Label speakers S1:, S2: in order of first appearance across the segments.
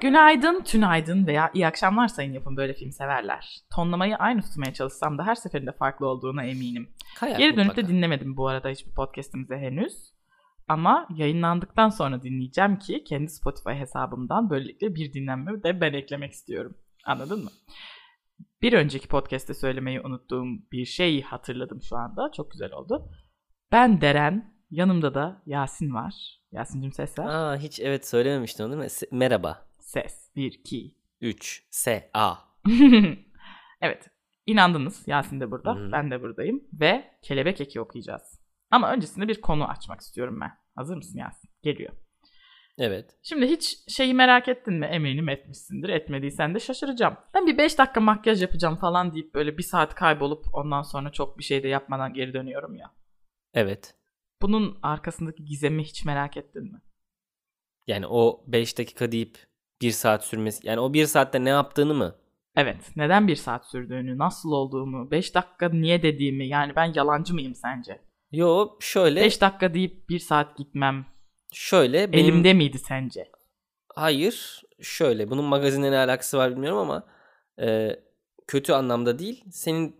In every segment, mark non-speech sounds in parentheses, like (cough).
S1: Günaydın, tünaydın veya iyi akşamlar sayın yapın böyle film severler. Tonlamayı aynı tutmaya çalışsam da her seferinde farklı olduğuna eminim.
S2: Kayar
S1: Geri dönüp
S2: mutlaka.
S1: de dinlemedim bu arada hiçbir podcastimizi henüz. Ama yayınlandıktan sonra dinleyeceğim ki kendi Spotify hesabımdan böylelikle bir dinlenme de ben eklemek istiyorum. Anladın mı? Bir önceki podcast'te söylemeyi unuttuğum bir şeyi hatırladım şu anda. Çok güzel oldu. Ben Deren, yanımda da Yasin var. Yasin'cim ses ver.
S2: Aa, hiç evet söylememiştin onu değil mi? Se- merhaba.
S1: Ses. 1, 2,
S2: 3. S. A.
S1: (laughs) evet. inandınız. Yasin de burada.
S2: Hı.
S1: Ben de buradayım. Ve kelebek eki okuyacağız. Ama öncesinde bir konu açmak istiyorum ben. Hazır mısın Yasin? Geliyor.
S2: Evet.
S1: Şimdi hiç şeyi merak ettin mi? Eminim etmişsindir. Etmediysen de şaşıracağım. Ben bir 5 dakika makyaj yapacağım falan deyip böyle bir saat kaybolup ondan sonra çok bir şey de yapmadan geri dönüyorum ya.
S2: Evet.
S1: Bunun arkasındaki gizemi hiç merak ettin mi?
S2: Yani o 5 dakika deyip 1 saat sürmesi. Yani o 1 saatte ne yaptığını mı?
S1: Evet. Neden bir saat sürdüğünü, nasıl olduğumu, 5 dakika niye dediğimi yani ben yalancı mıyım sence?
S2: Yo şöyle
S1: 5 dakika deyip 1 saat gitmem
S2: şöyle benim
S1: elimde miydi sence?
S2: hayır şöyle bunun magazinle ne alakası var bilmiyorum ama e, kötü anlamda değil. Senin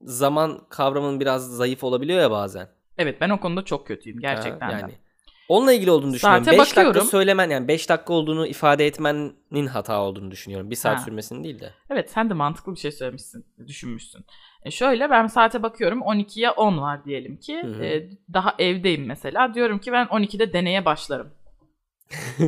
S2: zaman kavramın biraz zayıf olabiliyor ya bazen.
S1: Evet ben o konuda çok kötüyüm gerçekten.
S2: Ha,
S1: de.
S2: Ee, yani. Onunla ilgili olduğunu düşünüyorum.
S1: Saate
S2: 5 dakika
S1: bakıyorum.
S2: söylemen yani 5 dakika olduğunu ifade etmenin hata olduğunu düşünüyorum. 1 saat
S1: Ha.
S2: sürmesinin değil de.
S1: Evet sen de mantıklı bir şey söylemişsin, düşünmüşsün. E şöyle ben saate bakıyorum 12'ye 10 var diyelim ki.
S2: Hı hı.
S1: e, daha evdeyim mesela. Diyorum ki ben 12'de deneye
S2: (laughs)
S1: başlarım.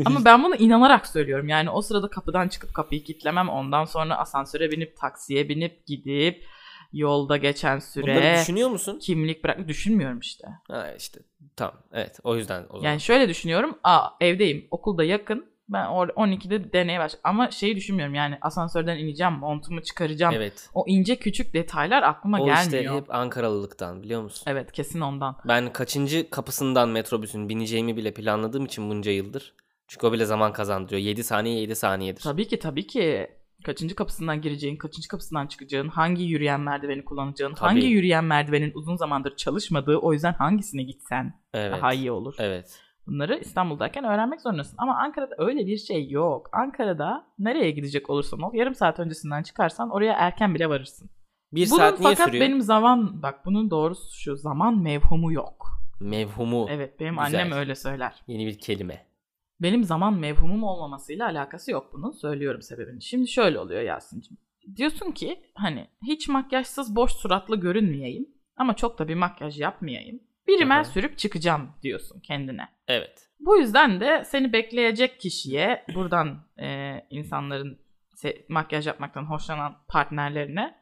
S1: Ama ben bunu inanarak söylüyorum. Yani o sırada kapıdan çıkıp kapıyı kilitlemem. Ondan sonra asansöre binip taksiye binip gidip yolda geçen
S2: Bunları
S1: süre
S2: düşünüyor musun?
S1: kimlik bırak düşünmüyorum işte.
S2: Ha işte tamam evet o yüzden o zaman.
S1: Yani şöyle düşünüyorum. Aa evdeyim. Okulda yakın. Ben or- 12'de deneye baş. Ama şeyi düşünmüyorum yani asansörden ineceğim, montumu çıkaracağım.
S2: evet.
S1: O ince küçük detaylar aklıma
S2: O işte
S1: gelmiyor.
S2: hep Ankaralılıktan biliyor musun?
S1: Evet kesin ondan.
S2: Ben kaçıncı kapısından metrobüsün bineceğimi bile planladığım için bunca yıldır. Çünkü o bile zaman kazandırıyor. 7 saniye 7 saniyedir.
S1: Tabii ki tabii ki. Kaçıncı kapısından gireceğin, kaçıncı kapısından çıkacağın, hangi yürüyen merdiveni kullanacağın,
S2: Tabii.
S1: hangi yürüyen merdivenin uzun zamandır çalışmadığı o yüzden hangisine gitsen
S2: Evet.
S1: daha iyi olur.
S2: Evet.
S1: Bunları İstanbul'dayken öğrenmek zorundasın. Ama Ankara'da öyle bir şey yok. Ankara'da nereye gidecek olursan ol yarım saat öncesinden çıkarsan oraya erken bile varırsın.
S2: Bir
S1: bunun
S2: saat niye
S1: fakat
S2: sürüyor?
S1: benim zaman bak bunun doğrusu şu zaman mevhumu yok.
S2: Mevhumu.
S1: Evet benim
S2: Güzel.
S1: annem öyle söyler.
S2: Yeni bir kelime.
S1: Benim zaman mevhumum olmamasıyla alakası yok bunun. Söylüyorum sebebini. Şimdi şöyle oluyor Yasin'cim. Diyorsun ki hani hiç makyajsız boş suratlı görünmeyeyim ama çok da bir makyaj yapmayayım. Birimen
S2: Aha.
S1: sürüp çıkacağım diyorsun kendine.
S2: Evet.
S1: Bu yüzden de seni bekleyecek kişiye buradan e, insanların se- makyaj yapmaktan hoşlanan partnerlerine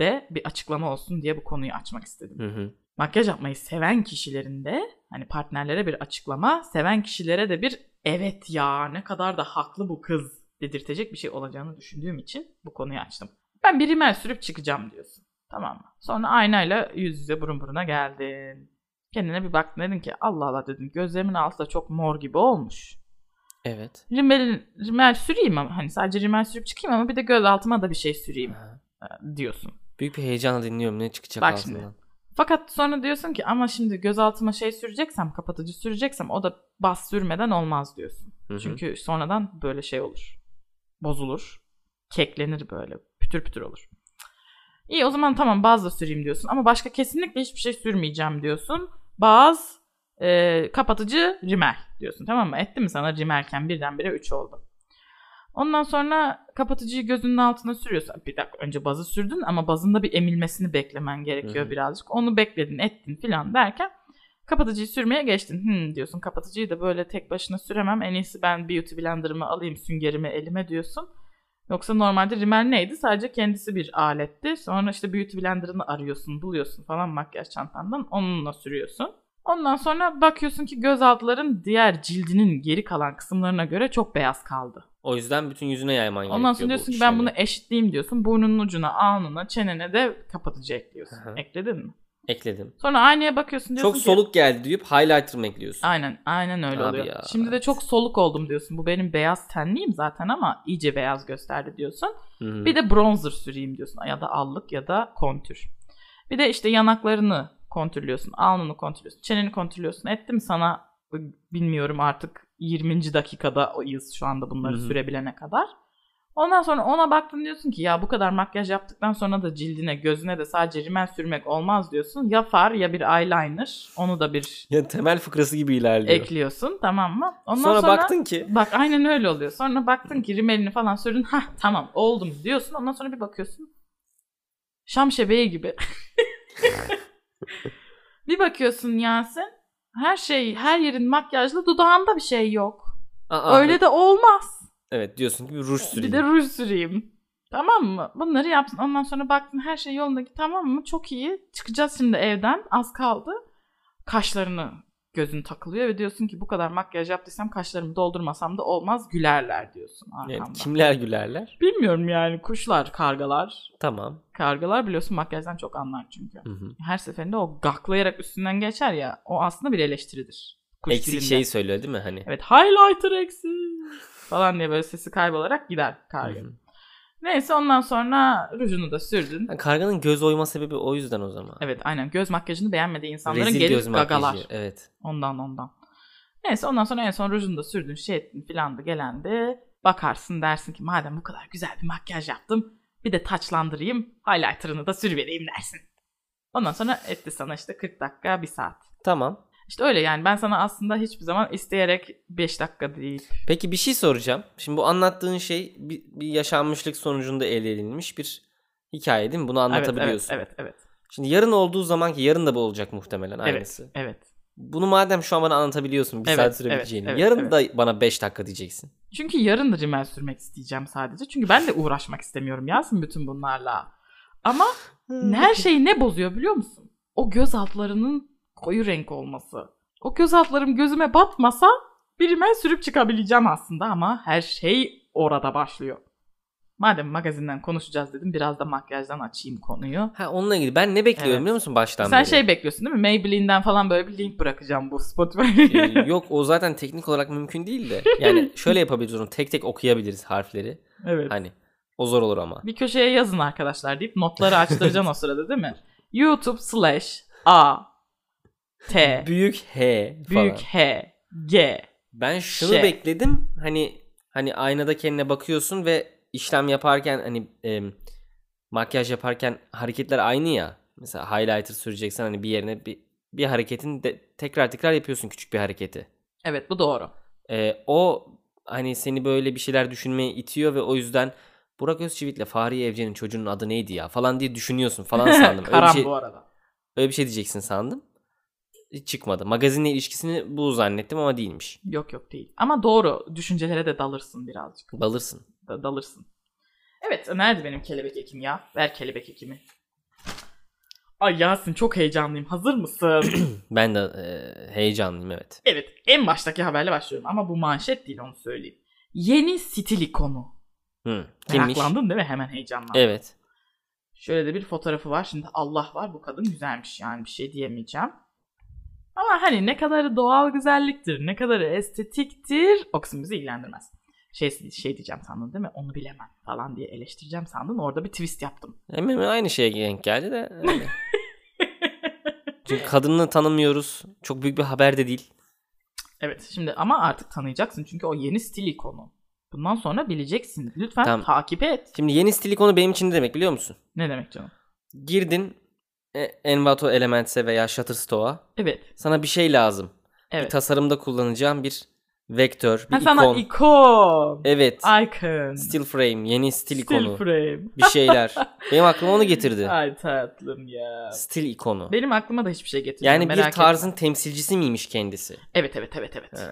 S1: de bir açıklama olsun diye bu konuyu açmak istedim.
S2: Hı hı.
S1: Makyaj yapmayı seven kişilerin de hani partnerlere bir açıklama, seven kişilere de bir evet ya ne kadar da haklı bu kız dedirtecek bir şey olacağını düşündüğüm için bu konuyu açtım. Ben bir rimel sürüp çıkacağım diyorsun. Tamam mı? Sonra aynayla yüz yüze burun buruna geldin. Kendine bir baktın dedin ki Allah Allah dedin gözlerimin altı da çok mor gibi olmuş.
S2: Evet.
S1: Rimel, rimel süreyim ama hani sadece rimel sürüp çıkayım ama bir de göz altıma da bir şey süreyim
S2: Ha.
S1: e, diyorsun.
S2: Büyük bir heyecanla dinliyorum ne çıkacak
S1: Bak
S2: ağzından.
S1: şimdi. Fakat sonra diyorsun ki ama şimdi gözaltıma şey süreceksem, kapatıcı süreceksem o da bas sürmeden olmaz diyorsun.
S2: Hı hı.
S1: Çünkü sonradan böyle şey olur. Bozulur. Keklenir böyle. Pütür pütür olur. İyi o zaman tamam bazla süreyim diyorsun ama başka kesinlikle hiçbir şey sürmeyeceğim diyorsun. Baz, e, kapatıcı, rimel diyorsun tamam mı? Etti mi sana rimelken birdenbire 3 oldu. Ondan sonra kapatıcıyı gözünün altına sürüyorsun. Bir dakika önce bazı sürdün ama bazın da bir emilmesini beklemen gerekiyor
S2: Hı hı.
S1: birazcık. Onu bekledin ettin filan derken kapatıcıyı sürmeye geçtin. Hmm diyorsun kapatıcıyı da böyle tek başına süremem. En iyisi ben beauty blenderımı alayım süngerimi elime diyorsun. Yoksa normalde rimel neydi? Sadece kendisi bir aletti. Sonra işte beauty blender'ını arıyorsun, buluyorsun falan makyaj çantandan. Onunla sürüyorsun. Ondan sonra bakıyorsun ki göz altların diğer cildinin geri kalan kısımlarına göre çok beyaz kaldı.
S2: O yüzden bütün yüzüne yayman gerekiyor.
S1: Ondan sonra
S2: bu şey
S1: diyorsun ki
S2: işlemi.
S1: ben bunu eşitleyeyim diyorsun. Burnunun ucuna, alnına, çenene de kapatıcı ekliyorsun.
S2: Aha.
S1: Ekledin mi?
S2: ekledim.
S1: Sonra aynaya bakıyorsun diyorsun
S2: Çok
S1: ki...
S2: soluk geldi deyip highlighter mı ekliyorsun?
S1: Aynen, aynen öyle
S2: Abi
S1: oluyor.
S2: ya,
S1: Şimdi de
S2: evet.
S1: çok soluk oldum diyorsun. Bu benim beyaz tenliyim zaten ama iyice beyaz gösterdi diyorsun.
S2: Hı hı.
S1: Bir de bronzer süreyim diyorsun ya da allık ya da kontür. Bir de işte yanaklarını kontürlüyorsun, alnını kontürlüyorsun, çeneni kontürlüyorsun. Etti mi sana bilmiyorum artık 20. dakikadayız şu anda bunları
S2: Hı hı.
S1: sürebilene kadar. Ondan sonra ona baktın diyorsun ki ya bu kadar makyaj yaptıktan sonra da cildine gözüne de sadece rimel sürmek olmaz diyorsun. Ya far ya bir eyeliner onu da bir
S2: Ya temel fıkrası gibi ilerliyor.
S1: ekliyorsun tamam mı? Ondan
S2: sonra, baktın ki
S1: Bak aynen öyle oluyor. Sonra baktın ki rimelini falan sürdün. Ha tamam oldum diyorsun. Ondan sonra bir bakıyorsun. Şam şebeği gibi. (laughs) bir bakıyorsun Yasin. Her şey her yerin makyajlı dudağında bir şey yok.
S2: Aa,
S1: öyle de olmaz.
S2: Evet diyorsun ki bir ruj süreyim.
S1: Bir de ruj süreyim. Tamam mı? Bunları yapsın. Ondan sonra baktın her şey yolundaki tamam mı? Çok iyi. Çıkacağız şimdi evden. Az kaldı. Kaşlarını gözün takılıyor ve diyorsun ki bu kadar makyaj yaptıysam kaşlarımı doldurmasam da olmaz gülerler diyorsun
S2: Yani
S1: arkamdan.
S2: kimler gülerler?
S1: Bilmiyorum yani kuşlar, kargalar.
S2: Tamam.
S1: Kargalar biliyorsun makyajdan çok anlar çünkü.
S2: Hı hı.
S1: Her seferinde o gaklayarak üstünden geçer ya o aslında bir eleştiridir. Kuş
S2: Eksik
S1: dilinde.
S2: şeyi söylüyor değil mi hani?
S1: Evet highlighter eksik falan diye böyle sesi kaybolarak gider karga.
S2: Hı hı.
S1: Neyse ondan sonra rujunu da sürdün.
S2: Ha, Karganın göz oyma sebebi o yüzden o zaman.
S1: Evet aynen göz makyajını beğenmediği insanların
S2: Rezil göz
S1: gelip
S2: makyajı.
S1: gagalar.
S2: Evet.
S1: Ondan ondan. Neyse ondan sonra en son rujunu da sürdün şey ettin filan da gelendi. Bakarsın dersin ki madem bu kadar güzel bir makyaj yaptım bir de taçlandırayım highlighter'ını da sürüvereyim dersin. Ondan sonra etti sana işte 40 dakika 1 saat.
S2: Tamam.
S1: İşte öyle yani ben sana aslında hiçbir zaman isteyerek 5 dakika değil.
S2: Peki bir şey soracağım. Şimdi bu anlattığın şey bir, bir yaşanmışlık sonucunda elde edilmiş bir hikaye değil mi? Bunu
S1: Evet,
S2: anlatabiliyorsun.
S1: Evet evet evet.
S2: Şimdi yarın olduğu zaman ki yarın da bu olacak muhtemelen aynısı.
S1: evet.
S2: Bunu madem şu an bana anlatabiliyorsun bir
S1: Evet,
S2: saat sürebileceğini.
S1: evet, evet,
S2: yarın
S1: evet.
S2: da bana 5 dakika diyeceksin.
S1: Çünkü yarın rimel sürmek isteyeceğim sadece. Çünkü ben de uğraşmak istemiyorum Yasin bütün bunlarla. Ama
S2: Hmm.
S1: her şeyi ne bozuyor biliyor musun? O göz altlarının koyu renk olması. O göz altlarım gözüme batmasa bir rimel sürüp çıkabileceğim aslında ama her şey orada başlıyor. Madem magazinden konuşacağız dedim biraz da makyajdan açayım konuyu.
S2: Ha onunla ilgili ben ne bekliyorum
S1: Evet.
S2: biliyor musun baştan
S1: Sen
S2: beri?
S1: şey bekliyorsun değil mi? Maybelline'den falan böyle bir link bırakacağım bu Spotify'a.
S2: Ee, yok o zaten teknik olarak mümkün değil de. Yani şöyle yapabiliriz onu tek tek okuyabiliriz harfleri.
S1: (laughs) evet.
S2: Hani o zor olur ama.
S1: bir köşeye yazın arkadaşlar deyip notları açtıracaksın
S2: (laughs)
S1: o sırada değil mi? YouTube slash A T
S2: Büyük H falan.
S1: büyük H G
S2: Ben şunu
S1: Şey.
S2: bekledim. Hani hani aynada kendine bakıyorsun ve işlem yaparken hani e, makyaj yaparken hareketler aynı ya. Mesela highlighter süreceksen hani bir yerine bir bir hareketin de, tekrar tekrar yapıyorsun küçük bir hareketi.
S1: Evet bu doğru.
S2: E, o hani seni böyle bir şeyler düşünmeye itiyor ve o yüzden Burak Özçivit'le Fahriye Evcen'in çocuğunun adı neydi ya falan diye düşünüyorsun
S1: (laughs)
S2: falan sandım. öyle, bir
S1: Karam
S2: şey,
S1: bu arada.
S2: öyle bir şey diyeceksin sandım. Hiç çıkmadı. Magazinle ilişkisini bu zannettim ama değilmiş.
S1: Yok yok değil. Ama doğru düşüncelere de dalırsın birazcık.
S2: Balırsın.
S1: Da- dalırsın. Evet nerede benim kelebek ekim ya? Ver kelebek ekimi. Ay Yasin çok heyecanlıyım. Hazır mısın?
S2: (clears throat) Ben de e, heyecanlıyım evet.
S1: Evet en baştaki haberle başlıyorum ama bu manşet değil onu söyleyeyim. Yeni stil ikonu.
S2: Hı. Kimmiş? Ee,
S1: Meraklandın değil mi? Hemen heyecanlandın.
S2: Evet.
S1: Şöyle de bir fotoğrafı var. Şimdi Allah var bu kadın güzelmiş yani bir şey diyemeyeceğim. Ama hani ne kadarı doğal güzelliktir, ne kadarı estetiktir o kısım bizi ilgilendirmez. Şey, şey diyeceğim sandın değil mi? Onu bilemem falan diye eleştireceğim sandın. Orada bir twist yaptım.
S2: Hem hem aynı şeye denk geldi de.
S1: (laughs)
S2: öyle. Çünkü kadını tanımıyoruz. Çok büyük bir haber de değil.
S1: Evet şimdi ama artık tanıyacaksın çünkü o yeni stil ikonu. Bundan sonra bileceksin. Lütfen
S2: Tamam.
S1: takip et.
S2: Şimdi yeni stil ikonu benim için ne demek biliyor musun?
S1: Ne demek canım?
S2: Girdin e, Envato Elements'e veya Shutterstock'a.
S1: Evet.
S2: Sana bir şey lazım. Bir
S1: Evet.
S2: tasarımda kullanacağım bir vektör, bir
S1: Ha, sana
S2: ikon.
S1: ikon.
S2: evet.
S1: Icon.
S2: Still frame, yeni stil
S1: Stil
S2: ikonu.
S1: frame.
S2: bir
S1: (laughs)
S2: şeyler. benim aklıma onu getirdi.
S1: Ay tatlım ya.
S2: Stil ikonu.
S1: Benim aklıma da hiçbir şey getirmiyor.
S2: Yani
S1: merak
S2: bir tarzın
S1: etme.
S2: temsilcisi miymiş kendisi?
S1: Evet evet evet evet.
S2: He.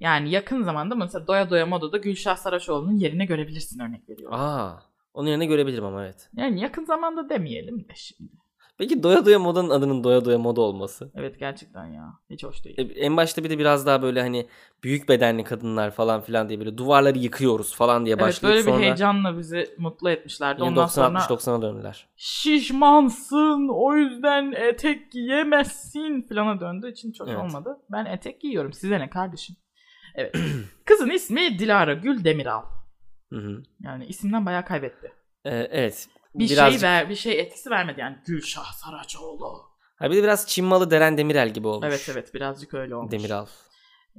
S1: Yani yakın zamanda mesela Doya Doya Moda'da Gülşah Saraçoğlu'nun yerine görebilirsin örnek veriyorum.
S2: Aa, onun yerine görebilirim ama evet.
S1: Yani yakın zamanda demeyelim de şimdi.
S2: Peki doya doya modanın adının doya doya moda olması.
S1: Evet gerçekten ya. Hiç hoş değil.
S2: E, En başta bir de biraz daha böyle hani büyük bedenli kadınlar falan filan diye böyle duvarları yıkıyoruz falan diye
S1: Evet
S2: başlayıp
S1: böyle
S2: sonra
S1: bir heyecanla bizi mutlu etmişlerdi.
S2: yine
S1: Ondan
S2: 90
S1: sonra
S2: 60 90'a döndüler.
S1: şişmansın o yüzden etek giyemezsin filana döndüğü için çok
S2: Evet.
S1: olmadı. Ben etek giyiyorum size ne kardeşim. Evet. (clears throat) Kızın ismi Dilara Gül Demiral.
S2: Hı hı.
S1: Yani isimden bayağı kaybetti.
S2: E, evet.
S1: bir
S2: birazcık-
S1: şey ver, bir şey etkisi vermedi yani Gülşah Saraçoğlu.
S2: Ha, bir de biraz Çin malı Deren Demirel gibi olmuş.
S1: Evet evet birazcık öyle olmuş.
S2: Demiral.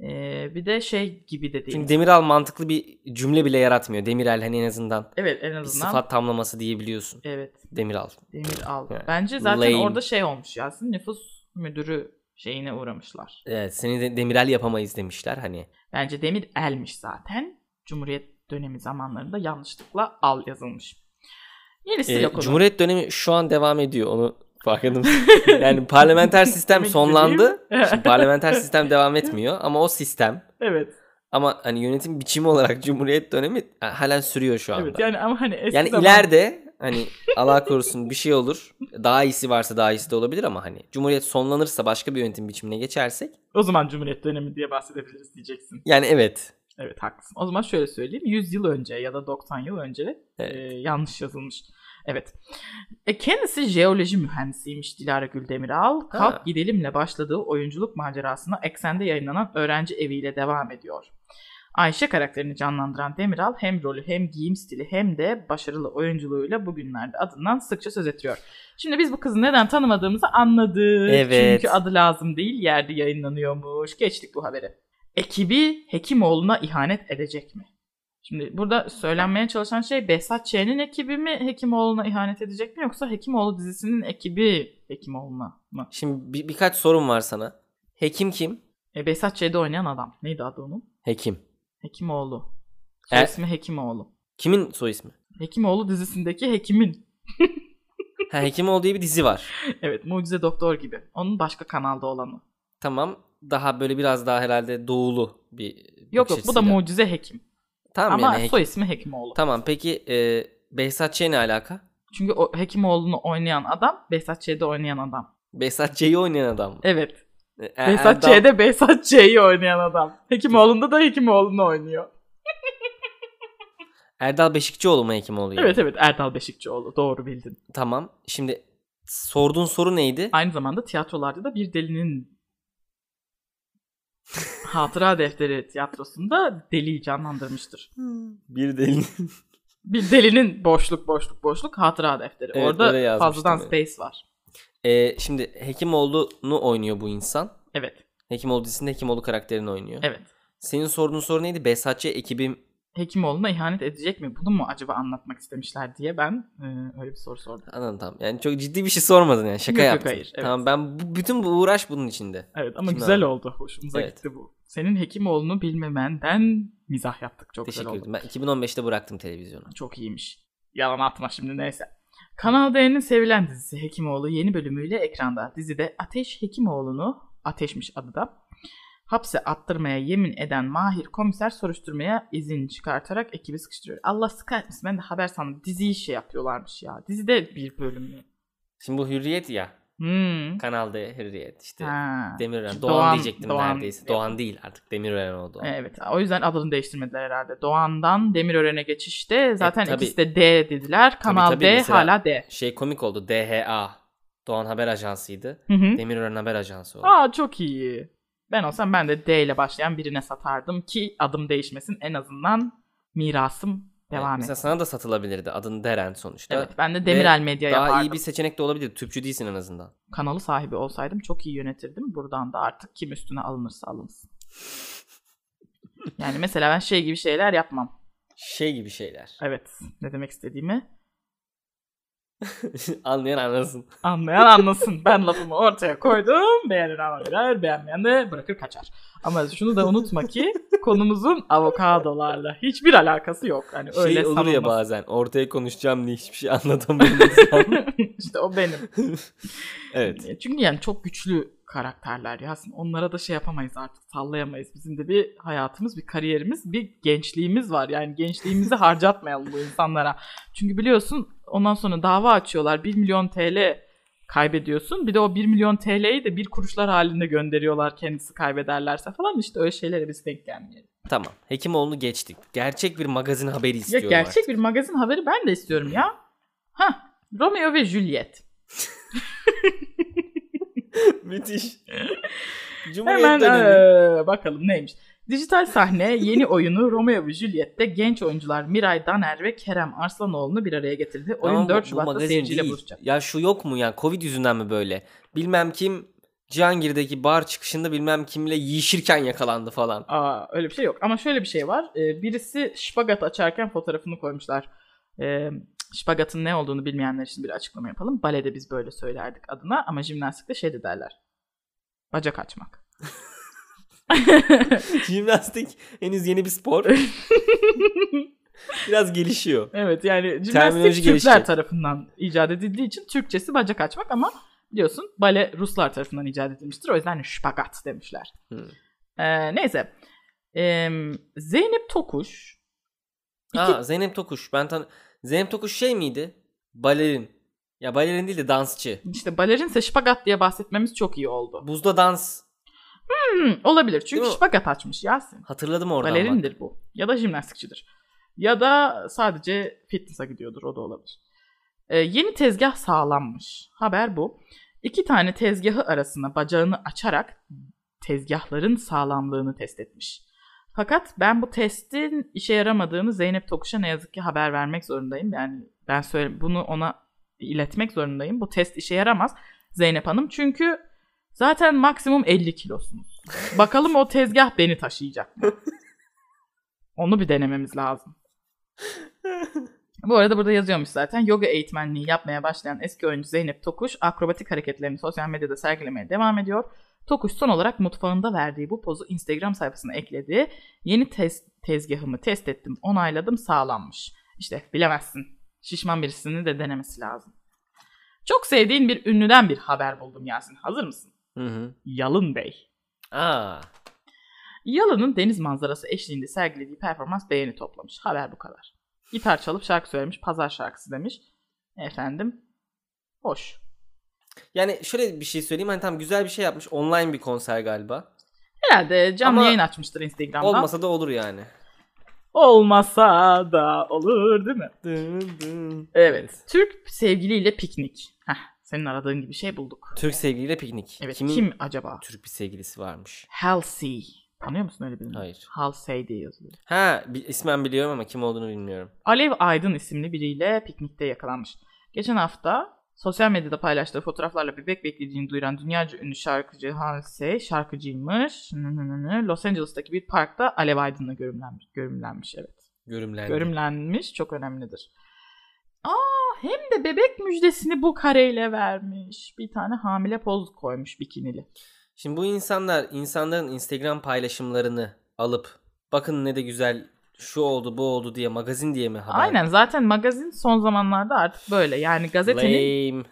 S1: Ee, bir de şey gibi de değil.
S2: Çünkü Demiral mantıklı bir cümle bile yaratmıyor. Demiral hani en azından
S1: evet en
S2: bir
S1: azından. E-
S2: sıfat tamlaması diyebiliyorsun.
S1: Evet
S2: Demiral.
S1: demir al.
S2: Yani,
S1: Bence zaten
S2: lame.
S1: orada şey olmuş Yasin nüfus müdürü şeyine uğramışlar.
S2: Evet seni de Demiral yapamayız demişler hani.
S1: Bence demir elmiş zaten. Cumhuriyet dönemi zamanlarında yanlışlıkla al yazılmış. Yenisi
S2: Ee,
S1: yok onun.
S2: Cumhuriyet dönemi şu an devam ediyor onu farkındayım.
S1: (laughs)
S2: yani parlamenter sistem
S1: Demek (laughs)
S2: sonlandı.
S1: istediğim-
S2: Şimdi parlamenter sistem devam etmiyor ama o sistem
S1: Evet.
S2: ama hani yönetim biçimi olarak Cumhuriyet dönemi ha- halen sürüyor şu anda.
S1: Evet yani ama hani eski
S2: yani
S1: zaman-
S2: ileride hani Allah korusun bir şey olur. Daha iyisi varsa daha iyisi de olabilir ama hani Cumhuriyet sonlanırsa başka bir yönetim biçimine geçersek
S1: o zaman Cumhuriyet dönemi diye bahsedebiliriz diyeceksin.
S2: yani evet.
S1: Evet haklısın. O zaman şöyle söyleyeyim. 100 yıl önce ya da 90 yıl önce
S2: Evet.
S1: e, yanlış yazılmış. Evet. E, kendisi jeoloji mühendisiymiş Dilara Güldemiral. Kalk Gidelim'le başladığı oyunculuk macerasına Eksen'de yayınlanan Öğrenci Evi'yle devam ediyor. Ayşe karakterini canlandıran Demiral hem rolü hem giyim stili hem de başarılı oyunculuğuyla bugünlerde adından sıkça söz ettiriyor. Şimdi biz bu kızı neden tanımadığımızı anladık.
S2: Evet.
S1: Çünkü adı lazım değil yerde yayınlanıyormuş. Geçtik bu haberi. Ekibi Hekimoğlu'na ihanet edecek mi? Şimdi burada söylenmeye çalışan şey Behzat Ç'nin ekibi mi Hekimoğlu'na ihanet edecek mi yoksa Hekimoğlu dizisinin ekibi Hekimoğlu'na mı?
S2: Şimdi bir- birkaç sorum var sana. Hekim kim?
S1: E, Behzat Ç'de oynayan adam. Neydi adı onun?
S2: Hekim.
S1: Hekimoğlu. Soy
S2: E-
S1: ismi Hekimoğlu.
S2: Kimin soy ismi?
S1: Hekimoğlu dizisindeki hekimin. (laughs)
S2: Ha Hekimoğlu diye bir dizi var.
S1: Evet Mucize Doktor gibi. Onun başka kanalda olanı.
S2: Tamam. Daha böyle biraz daha herhalde doğulu bir
S1: Yok
S2: bakış
S1: yok bu da
S2: açısıyla.
S1: Mucize Hekim.
S2: Tamam
S1: Ama
S2: yani Hekim.
S1: soy ismi Hekimoğlu.
S2: Tamam peki e, Behzat Ç ne alaka?
S1: Çünkü o Hekimoğlu'nu oynayan adam Behzat Ç'de oynayan adam.
S2: Behzat Ç'yi oynayan adam mı?
S1: Evet.
S2: E,
S1: Behzat
S2: Erdal-
S1: Ç'de Behzat Ç'yi oynayan adam. Hekimoğlu'nda da Hekimoğlu'nu oynuyor.
S2: Erdal Beşikçioğlu mu Hekimoğlu? yani?
S1: Evet evet Erdal Beşikçioğlu doğru bildin.
S2: Tamam. Şimdi sorduğun soru neydi?
S1: Aynı zamanda tiyatrolarda da bir
S2: (laughs)
S1: delinin Hatıra Defteri tiyatrosunda deliyi canlandırmıştır.
S2: Bir deli.
S1: Bir delinin boşluk boşluk boşluk hatıra defteri.
S2: Evet, öyle
S1: Orada
S2: yazmıştım
S1: fazladan
S2: evet.
S1: space var.
S2: (laughs) E, şimdi Hekimoğlu'nu oynuyor bu insan.
S1: Evet
S2: Hekimoğlu dizisinde Hekimoğlu karakterini oynuyor.
S1: evet.
S2: Senin sorduğun soru neydi? Behzat Ç ekibim
S1: Hekimoğlu'na ihanet edecek mi? Bunu mu acaba anlatmak istemişler diye ben e, öyle bir soru sordum.
S2: Anladım tamam. Yani çok ciddi bir şey sormadın yani. Şaka
S1: Yok, yok,
S2: yaptın.
S1: hayır, evet.
S2: Tamam ben bu, bütün bu uğraş bunun içinde.
S1: Evet ama
S2: Şimdi
S1: güzel
S2: abi.
S1: oldu. Hoşumuza
S2: Evet.
S1: gitti bu. Senin Hekimoğlu'nu bilmemenden mizah yaptık. Çok
S2: Teşekkür
S1: güzel oldu.
S2: ederim. Ben 2015'te bıraktım televizyonu.
S1: Çok iyiymiş. Yalan atma şimdi neyse. Kanal D'nin sevilen dizisi Hekimoğlu yeni bölümüyle ekranda. Dizide Ateş Hekimoğlu'nu, Ateşmiş adı da, hapse attırmaya yemin eden Mahir komiser soruşturmaya izin çıkartarak ekibi sıkıştırıyor. Allah sıkar mısın? Ben de haber sandım. Diziyi şey yapıyorlarmış ya. Dizide bir bölüm mü?
S2: Şimdi bu Hürriyet ya.
S1: Hmm.
S2: Kanalda Hürriyet işte.
S1: Ha.
S2: Demirören. Doğan,
S1: Doğan-
S2: diyecektim
S1: Doğan-
S2: neredeyse. Doğan değil artık. Demirören oldu.
S1: Evet. O yüzden adını değiştirmediler herhalde. Doğan'dan Demirören'e geçişte zaten
S2: E, tabii.
S1: ikisi de D dediler. Kanal
S2: tabii.
S1: D
S2: Mesela-
S1: hala D.
S2: Şey komik oldu. DHA. Doğan Haber Ajansı'ydı.
S1: Hı hı.
S2: Demirören Haber Ajansı oldu.
S1: Aa çok iyi. Ben olsam ben de D ile başlayan birine satardım ki adım değişmesin. En azından mirasım
S2: Evet,
S1: devam
S2: Mesela
S1: etsin.
S2: sana da satılabilirdi. Adın Deren sonuçta.
S1: Evet ben de Demirel Medya
S2: Daha
S1: yapardım.
S2: iyi bir seçenek de olabilir. Tüpçü değilsin en azından.
S1: Kanalı sahibi olsaydım çok iyi yönetirdim. Buradan da artık kim üstüne alınırsa
S2: (laughs)
S1: alınsın. yani mesela ben şey gibi şeyler yapmam.
S2: Şey gibi şeyler.
S1: Evet ne demek istediğimi
S2: (laughs) Anlayan anlasın.
S1: anlayan anlasın. Ben lafımı ortaya koydum. Beğenen ama birer, beğenmeyen de bırakır kaçar. Ama şunu da unutma ki konumuzun avokadolarla hiçbir alakası yok. Hani
S2: Şey
S1: öyle
S2: olur
S1: (laughs)
S2: ya
S1: sanılmasın.
S2: bazen. Ortaya konuşacağım diye hiçbir şey anlatamıyorum.
S1: (laughs) işte o benim.
S2: evet.
S1: Ee, Çünkü yani çok güçlü karakterler ya. Aslında Onlara da şey yapamayız artık sallayamayız. Bizim de bir hayatımız, bir kariyerimiz, bir gençliğimiz var. Yani gençliğimizi (laughs) harcatmayalım bu insanlara. Çünkü biliyorsun ondan sonra dava açıyorlar. 1 milyon TL kaybediyorsun. Bir de o 1 milyon TL'yi de bir kuruşlar halinde gönderiyorlar kendisi kaybederlerse falan. işte öyle şeylere biz denk gelmeyelim.
S2: Tamam. Hekimoğlu'nu geçtik. Gerçek bir magazin haberi
S1: Ya
S2: istiyorum
S1: gerçek
S2: artık.
S1: bir magazin haberi ben de istiyorum ya. Hah Romeo ve Juliet.
S2: (laughs) Müthiş. Cumhuriyet
S1: Hemen
S2: dönemi.
S1: eee, hani (laughs) bakalım neymiş. Dijital sahne yeni oyunu (laughs) Romeo ve Juliet'te genç oyuncular Miray Daner ve Kerem Arslanoğlu'nu bir araya getirdi. Oyun
S2: Ama bu-
S1: 4
S2: bu
S1: Şubat'ta
S2: magazin
S1: seyirciyle
S2: değil.
S1: buluşacak.
S2: Ya şu yok mu ya? Covid yüzünden mi böyle? Bilmem kim Cihangir'deki bar çıkışında bilmem kimle yiyişirken yakalandı falan.
S1: Aa, öyle bir şey yok. Ama şöyle bir şey var. Ee, birisi şpagat açarken fotoğrafını koymuşlar. Ee, şpagatın ne olduğunu bilmeyenler için bir açıklama yapalım. Balede biz böyle söylerdik adına ama jimnastikte şey de derler. Bacak açmak.
S2: (laughs) Jimnastik henüz yeni bir (laughs) spor. Biraz gelişiyor.
S1: Evet yani
S2: Terminoloji
S1: jimnastik Türkler
S2: gelişecek.
S1: tarafından icat edildiği için Türkçesi bacak açmak ama biliyorsun bale Ruslar tarafından icat edilmiştir. O yüzden şpagat demişler.
S2: Hmm.
S1: Ee, neyse. Ee, Zeynep Tokuş
S2: Aa Zeynep Tokuş. Ben tan Zeynep Tokuş şey miydi? Balerin. Ya balerin değil de dansçı.
S1: işte balerinse şpagat diye bahsetmemiz çok iyi oldu.
S2: Buzda dans.
S1: Hmm, olabilir çünkü
S2: Değil mi?
S1: şpagat açmış Yasin.
S2: Hatırladım oradan bak.
S1: Balerindir bu. Ya da jimnastikçidir. Ya da sadece fitness'a gidiyordur o da olabilir. Ee, yeni tezgah sağlanmış. Haber bu. İki tane tezgahı arasına bacağını açarak tezgahların sağlamlığını test etmiş. Fakat ben bu testin işe yaramadığını Zeynep Tokuş'a ne yazık ki haber vermek zorundayım. Yani ben söyle bunu ona iletmek zorundayım. Bu test işe yaramaz Zeynep Hanım. Çünkü zaten maksimum 50 kilosunuz. Bakalım o tezgah beni taşıyacak mı? Onu bir denememiz lazım. Bu arada burada yazıyormuş zaten. Yoga eğitmenliği yapmaya başlayan eski oyuncu Zeynep Tokuş akrobatik hareketlerini sosyal medyada sergilemeye devam ediyor. Tokuş son olarak mutfağında verdiği bu pozu Instagram sayfasına ekledi. Yeni tez, tezgahımı test ettim, onayladım, sağlanmış. İşte bilemezsin. Şişman birisini de denemesi lazım. Çok sevdiğin bir ünlüden bir haber buldum Yasin. Hazır mısın?
S2: Hı hı.
S1: Yalın Bey.
S2: Aa.
S1: Yalın'ın deniz manzarası eşliğinde sergilediği performans beğeni toplamış. Haber bu kadar. Gitar çalıp şarkı söylemiş. Pazar şarkısı demiş. Efendim. Hoş.
S2: Yani şöyle bir şey söyleyeyim. Hani tam güzel bir şey yapmış. Online bir konser galiba.
S1: Herhalde canlı
S2: Ama
S1: yayın açmıştır Instagram'da.
S2: Olmasa da olur yani.
S1: Olmasa da olur değil mi? Evet. Türk sevgiliyle piknik. Heh, senin aradığın gibi şey bulduk.
S2: Türk sevgiliyle piknik.
S1: Evet.
S2: Kimin
S1: Kim acaba?
S2: Türk bir sevgilisi varmış?
S1: Halsey. Tanıyor musun öyle birini?
S2: Hayır.
S1: Halsey diye yazılıyor.
S2: Ha bi- ismen biliyorum ama kim olduğunu bilmiyorum.
S1: Alev Aydın isimli biriyle piknikte yakalanmış. Geçen hafta sosyal medyada paylaştığı fotoğraflarla bebek beklediğini duyuran dünyaca ünlü şarkıcı Halsey şarkıcıymış. Nı nı nı nı. Los Angeles'taki bir parkta Alev Aydın'la görümlenmiş. Görümlenmiş evet.
S2: Görümlendi.
S1: Görümlenmiş çok önemlidir. Aa hem de bebek müjdesini bu kareyle vermiş. Bir tane hamile poz koymuş bikinili.
S2: Şimdi bu insanlar insanların Instagram paylaşımlarını alıp bakın ne de güzel şu oldu bu oldu diye magazin diye mi haber?
S1: Aynen zaten magazin son zamanlarda artık böyle. Yani gazetenin
S2: Lame.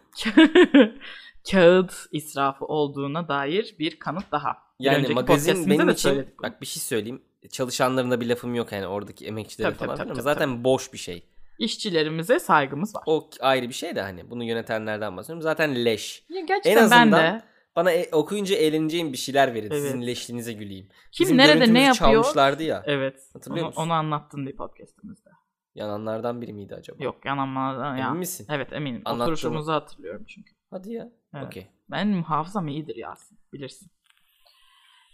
S1: kağıt israfı olduğuna dair bir kanıt daha. Bir
S2: Yani
S1: önceki
S2: magazin
S1: podcastimizde
S2: benim
S1: de
S2: için
S1: söyledik bunu.
S2: bak bir şey söyleyeyim. Çalışanlarına bir lafım yok yani oradaki emekçilere
S1: Tabii, tabii,
S2: falan.
S1: tabii,
S2: ama
S1: tabii,
S2: zaten boş bir şey.
S1: İşçilerimize saygımız var.
S2: O ayrı bir şey de hani bunu yönetenlerden bahsediyorum. Zaten leş.
S1: Ya
S2: En
S1: gerçekten
S2: azından
S1: ben de
S2: bana e- okuyunca eğleneceğim bir şeyler verin.
S1: Evet.
S2: Sizin leşliğinize güleyim.
S1: kim
S2: Bizim
S1: nerede ne
S2: görüntümüzü
S1: yapıyor?
S2: çalmışlardı ya.
S1: Evet.
S2: Hatırlıyor
S1: Onu,
S2: musun?
S1: onu anlattın bir podcastimizde.
S2: Yananlardan biri miydi acaba?
S1: Yok yanamadan
S2: Emin
S1: ya.
S2: misin?
S1: Evet eminim.
S2: Anlattı mı?
S1: Oturuşumuzu hatırlıyorum çünkü.
S2: Hadi ya.
S1: Evet.
S2: Okey.
S1: Benim hafızam iyidir Yasin. Bilirsin.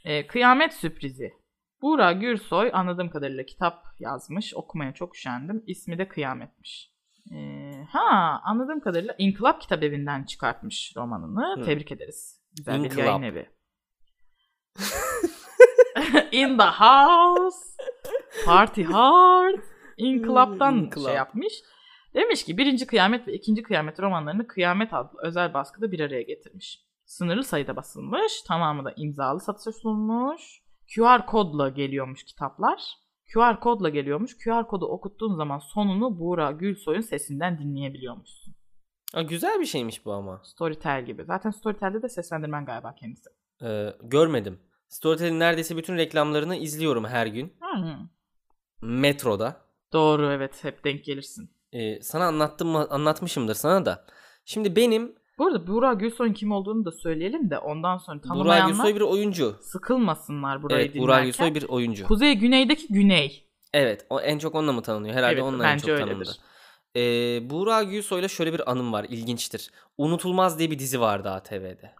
S1: Ee, kıyamet sürprizi. Buğra Gürsoy anladığım kadarıyla kitap yazmış. Okumaya çok üşendim. İsmi de Kıyametmiş. Ee, ha anladığım kadarıyla İnkılap Kitap Evi'nden çıkartmış romanını.
S2: Hı.
S1: Tebrik ederiz. Güzel bir
S2: İnkılap.
S1: yayın evi. (laughs) In the house. Party hard. İnkılap'tan
S2: Hmm, İnkılap.
S1: şey yapmış. Demiş ki birinci kıyamet ve ikinci kıyamet romanlarını Kıyamet adlı özel baskıda bir araya getirmiş. Sınırlı sayıda basılmış. Tamamı da imzalı satışa sunulmuş. QR kodla geliyormuş kitaplar. QR kodla geliyormuş. QR kodu okuttuğun zaman sonunu Buğra Gülsoy'un sesinden dinleyebiliyormuşsun.
S2: Aa, güzel bir şeymiş bu ama.
S1: Storytel gibi. Zaten Storytel'de de seslendirmen galiba kendisi.
S2: Ee, görmedim. Storytel'in neredeyse bütün reklamlarını izliyorum her gün.
S1: Hı.
S2: Metroda.
S1: Doğru evet hep denk gelirsin.
S2: Ee, sana anlattım mı- anlatmışımdır sana da. Şimdi benim
S1: Bu arada Buğra Gülsoy'un kim olduğunu da söyleyelim de ondan sonra
S2: Burak
S1: tanımayanlar
S2: Gülsoy bir oyuncu.
S1: sıkılmasınlar burayı
S2: Evet, Burak
S1: dinlerken.
S2: Gülsoy bir oyuncu.
S1: Kuzey güneydeki güney.
S2: Evet, o en çok onunla mı tanınıyor? Herhalde
S1: Evet,
S2: onunla en
S1: bence
S2: çok
S1: öyledir.
S2: tanındı. Ee, Burak Gülsoy'la şöyle bir anım var, ilginçtir. Unutulmaz diye bir dizi vardı ATV'de.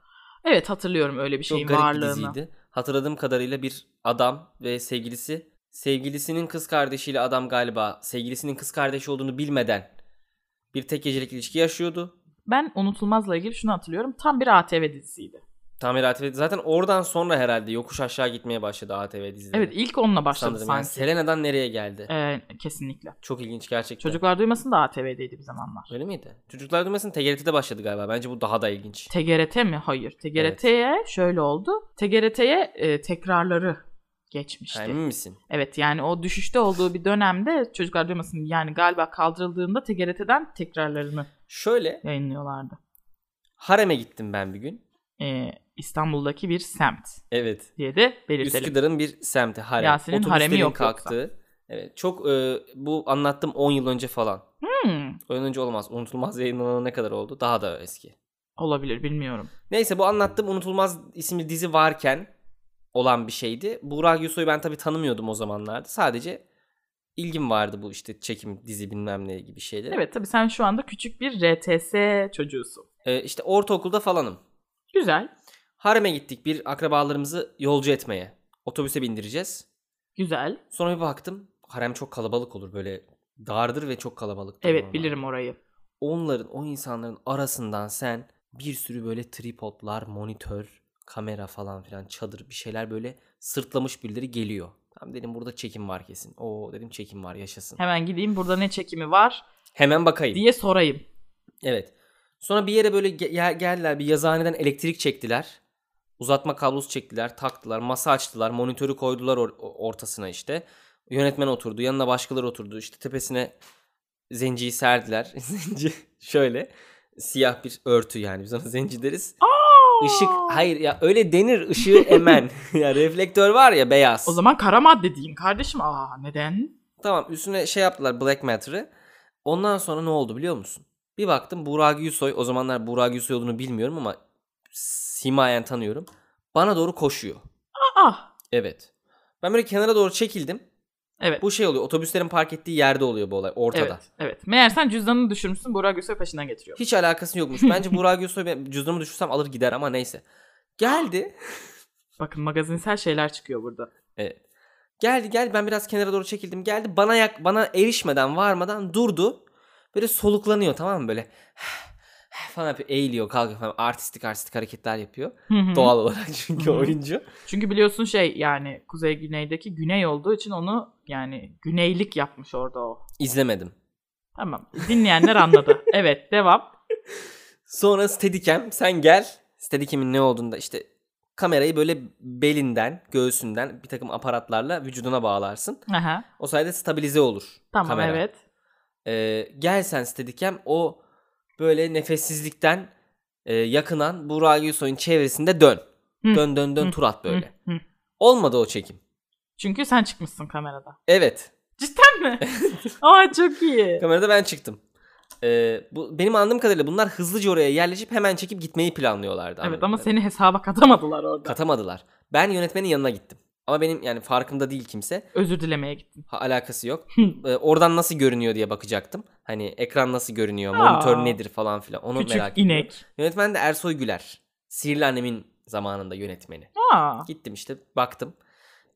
S1: Evet hatırlıyorum öyle bir
S2: Çok
S1: şeyin
S2: garip bir
S1: varlığını.
S2: diziydi. Hatırladığım kadarıyla bir adam ve sevgilisi, sevgilisinin kız kardeşiyle adam galiba sevgilisinin kız kardeşi olduğunu bilmeden bir tek gecelik ilişki yaşıyordu.
S1: Ben Unutulmaz'la ilgili şunu hatırlıyorum. Tam bir ATV dizisiydi.
S2: Tamir ATV zaten oradan sonra herhalde yokuş aşağı gitmeye başladı ATV dizileri.
S1: Evet ilk onunla başladı
S2: Sanırım yani
S1: sanki.
S2: Selena'dan nereye geldi?
S1: Ee, kesinlikle.
S2: Çok ilginç gerçekten.
S1: Çocuklar duymasın da ATV'deydi bir zamanlar.
S2: Öyle miydi? Çocuklar duymasın TGRT'de başladı galiba. Bence bu daha da ilginç.
S1: TGRT mi? Hayır. TGRT'ye şöyle oldu. TGRT'ye e, tekrarları geçmişti.
S2: Ha, Emin misin?
S1: Evet yani o düşüşte olduğu bir dönemde çocuklar duymasın yani galiba kaldırıldığında TGRT'den tekrarlarını
S2: Şöyle
S1: yayınlıyorlardı.
S2: hareme gittim ben bir gün.
S1: Ee, İstanbul'daki bir semt
S2: Evet.
S1: diye de belirtelim.
S2: Üsküdar'ın bir semti harem.
S1: Yasin'in
S2: Otobüslerin
S1: haremi yok
S2: kalktığı. Evet. Çok e, bu anlattım 10 yıl önce falan.
S1: Hmm,
S2: 10 yıl önce olmaz. Unutulmaz yayınlanana ne kadar oldu? Daha da eski.
S1: olabilir bilmiyorum.
S2: Neyse bu anlattığım Unutulmaz isimli dizi varken olan bir şeydi. Burak Yusoy'u ben tabii tanımıyordum o zamanlarda. Sadece ilgim vardı bu işte çekim, dizi bilmem ne gibi şeylere.
S1: Evet tabii sen şu anda küçük bir RTS çocuğusun.
S2: Ee, işte ortaokulda falanım.
S1: Güzel,
S2: Harem'e gittik bir akrabalarımızı yolcu etmeye. Otobüse bindireceğiz.
S1: güzel.
S2: Sonra bir baktım harem çok kalabalık olur böyle dardır ve çok kalabalıktır.
S1: Evet
S2: normalde.
S1: bilirim orayı.
S2: Onların o insanların arasından sen bir sürü böyle tripodlar, monitör, kamera falan filan çadır bir şeyler böyle sırtlamış birileri geliyor. Tam dedim burada çekim var kesin. Oo dedim çekim var yaşasın.
S1: Hemen gideyim burada ne çekimi var
S2: Hemen bakayım.
S1: diye sorayım.
S2: Evet. Sonra bir yere böyle ge- gel- geldiler bir yazıhaneden elektrik çektiler. Uzatma kablosu çektiler, taktılar, masa açtılar, monitörü koydular or- ortasına işte. Yönetmen oturdu, yanına başkaları oturdu. İşte tepesine zenciyi serdiler. (laughs) Zenci şöyle siyah bir örtü yani biz ona zenci deriz. Işık hayır ya öyle denir ışığı emen. ya reflektör var ya beyaz.
S1: O zaman kara madde diyeyim kardeşim. Aa neden?
S2: Tamam üstüne şey yaptılar Black Matter'ı. Ondan sonra ne oldu biliyor musun? Bir baktım Burak Yusoy. O zamanlar Burak Yusoy olduğunu bilmiyorum ama simayen tanıyorum. Bana doğru koşuyor.
S1: Aa
S2: Evet. Ben böyle kenara doğru çekildim.
S1: evet.
S2: Bu şey oluyor. Otobüslerin park ettiği yerde oluyor bu olay. Ortada.
S1: Evet, evet. Meğer sen cüzdanını düşürmüşsün Burak Gülsoy peşinden getiriyor.
S2: Hiç alakası yokmuş. Bence Burak Yusoy ben cüzdanımı düşürsem alır gider ama neyse. Geldi.
S1: Bakın magazinsel şeyler çıkıyor burada.
S2: Evet. Geldi geldi ben biraz kenara doğru çekildim. Geldi bana yak bana erişmeden varmadan durdu. Böyle soluklanıyor tamam mı böyle. (sighs) falan yapıyor. Eğiliyor kalkıyor falan. Artistik artistik hareketler yapıyor.
S1: Hı hı.
S2: Doğal olarak (laughs) çünkü
S1: Hı hı.
S2: oyuncu.
S1: Çünkü biliyorsun şey yani kuzey güneydeki güney olduğu için onu yani güneylik yapmış orada o.
S2: İzlemedim.
S1: Tamam. Dinleyenler
S2: (laughs)
S1: anladı. evet devam.
S2: Sonra Steadicam sen gel. Steadicam'in ne olduğunda işte kamerayı böyle belinden, göğsünden bir takım aparatlarla vücuduna bağlarsın.
S1: Aha.
S2: O sayede stabilize olur
S1: Tamam
S2: kamera.
S1: evet.
S2: e, gelsen Steadicam o böyle nefessizlikten e, yakınan Burak Yusoy'un çevresinde dön.
S1: Hı.
S2: Dön dön dön
S1: Hı.
S2: tur at böyle.
S1: Hı, hı.
S2: Olmadı o çekim.
S1: Çünkü sen çıkmışsın kamerada.
S2: Evet.
S1: Cidden
S2: (laughs)
S1: mi? Aa çok iyi.
S2: Kamerada ben çıktım. E, bu Benim anladığım kadarıyla bunlar hızlıca oraya yerleşip hemen çekip gitmeyi planlıyorlardı.
S1: Evet
S2: anladığım
S1: ama
S2: kadarıyla.
S1: seni hesaba katamadılar orada.
S2: Katamadılar. Ben yönetmenin yanına gittim. Ama benim yani farkında değil kimse.
S1: Özür dilemeye gittin.
S2: Ha, alakası yok.
S1: Hı.
S2: E, oradan nasıl görünüyor diye bakacaktım. Hani ekran nasıl görünüyor,
S1: Aa.
S2: monitör nedir falan filan. Onu
S1: Küçük
S2: merak ediyorum.
S1: inek.
S2: Yönetmen de Ersoy Güler. Sihirli Annem'in zamanında yönetmeni.
S1: Aa
S2: Gittim işte baktım.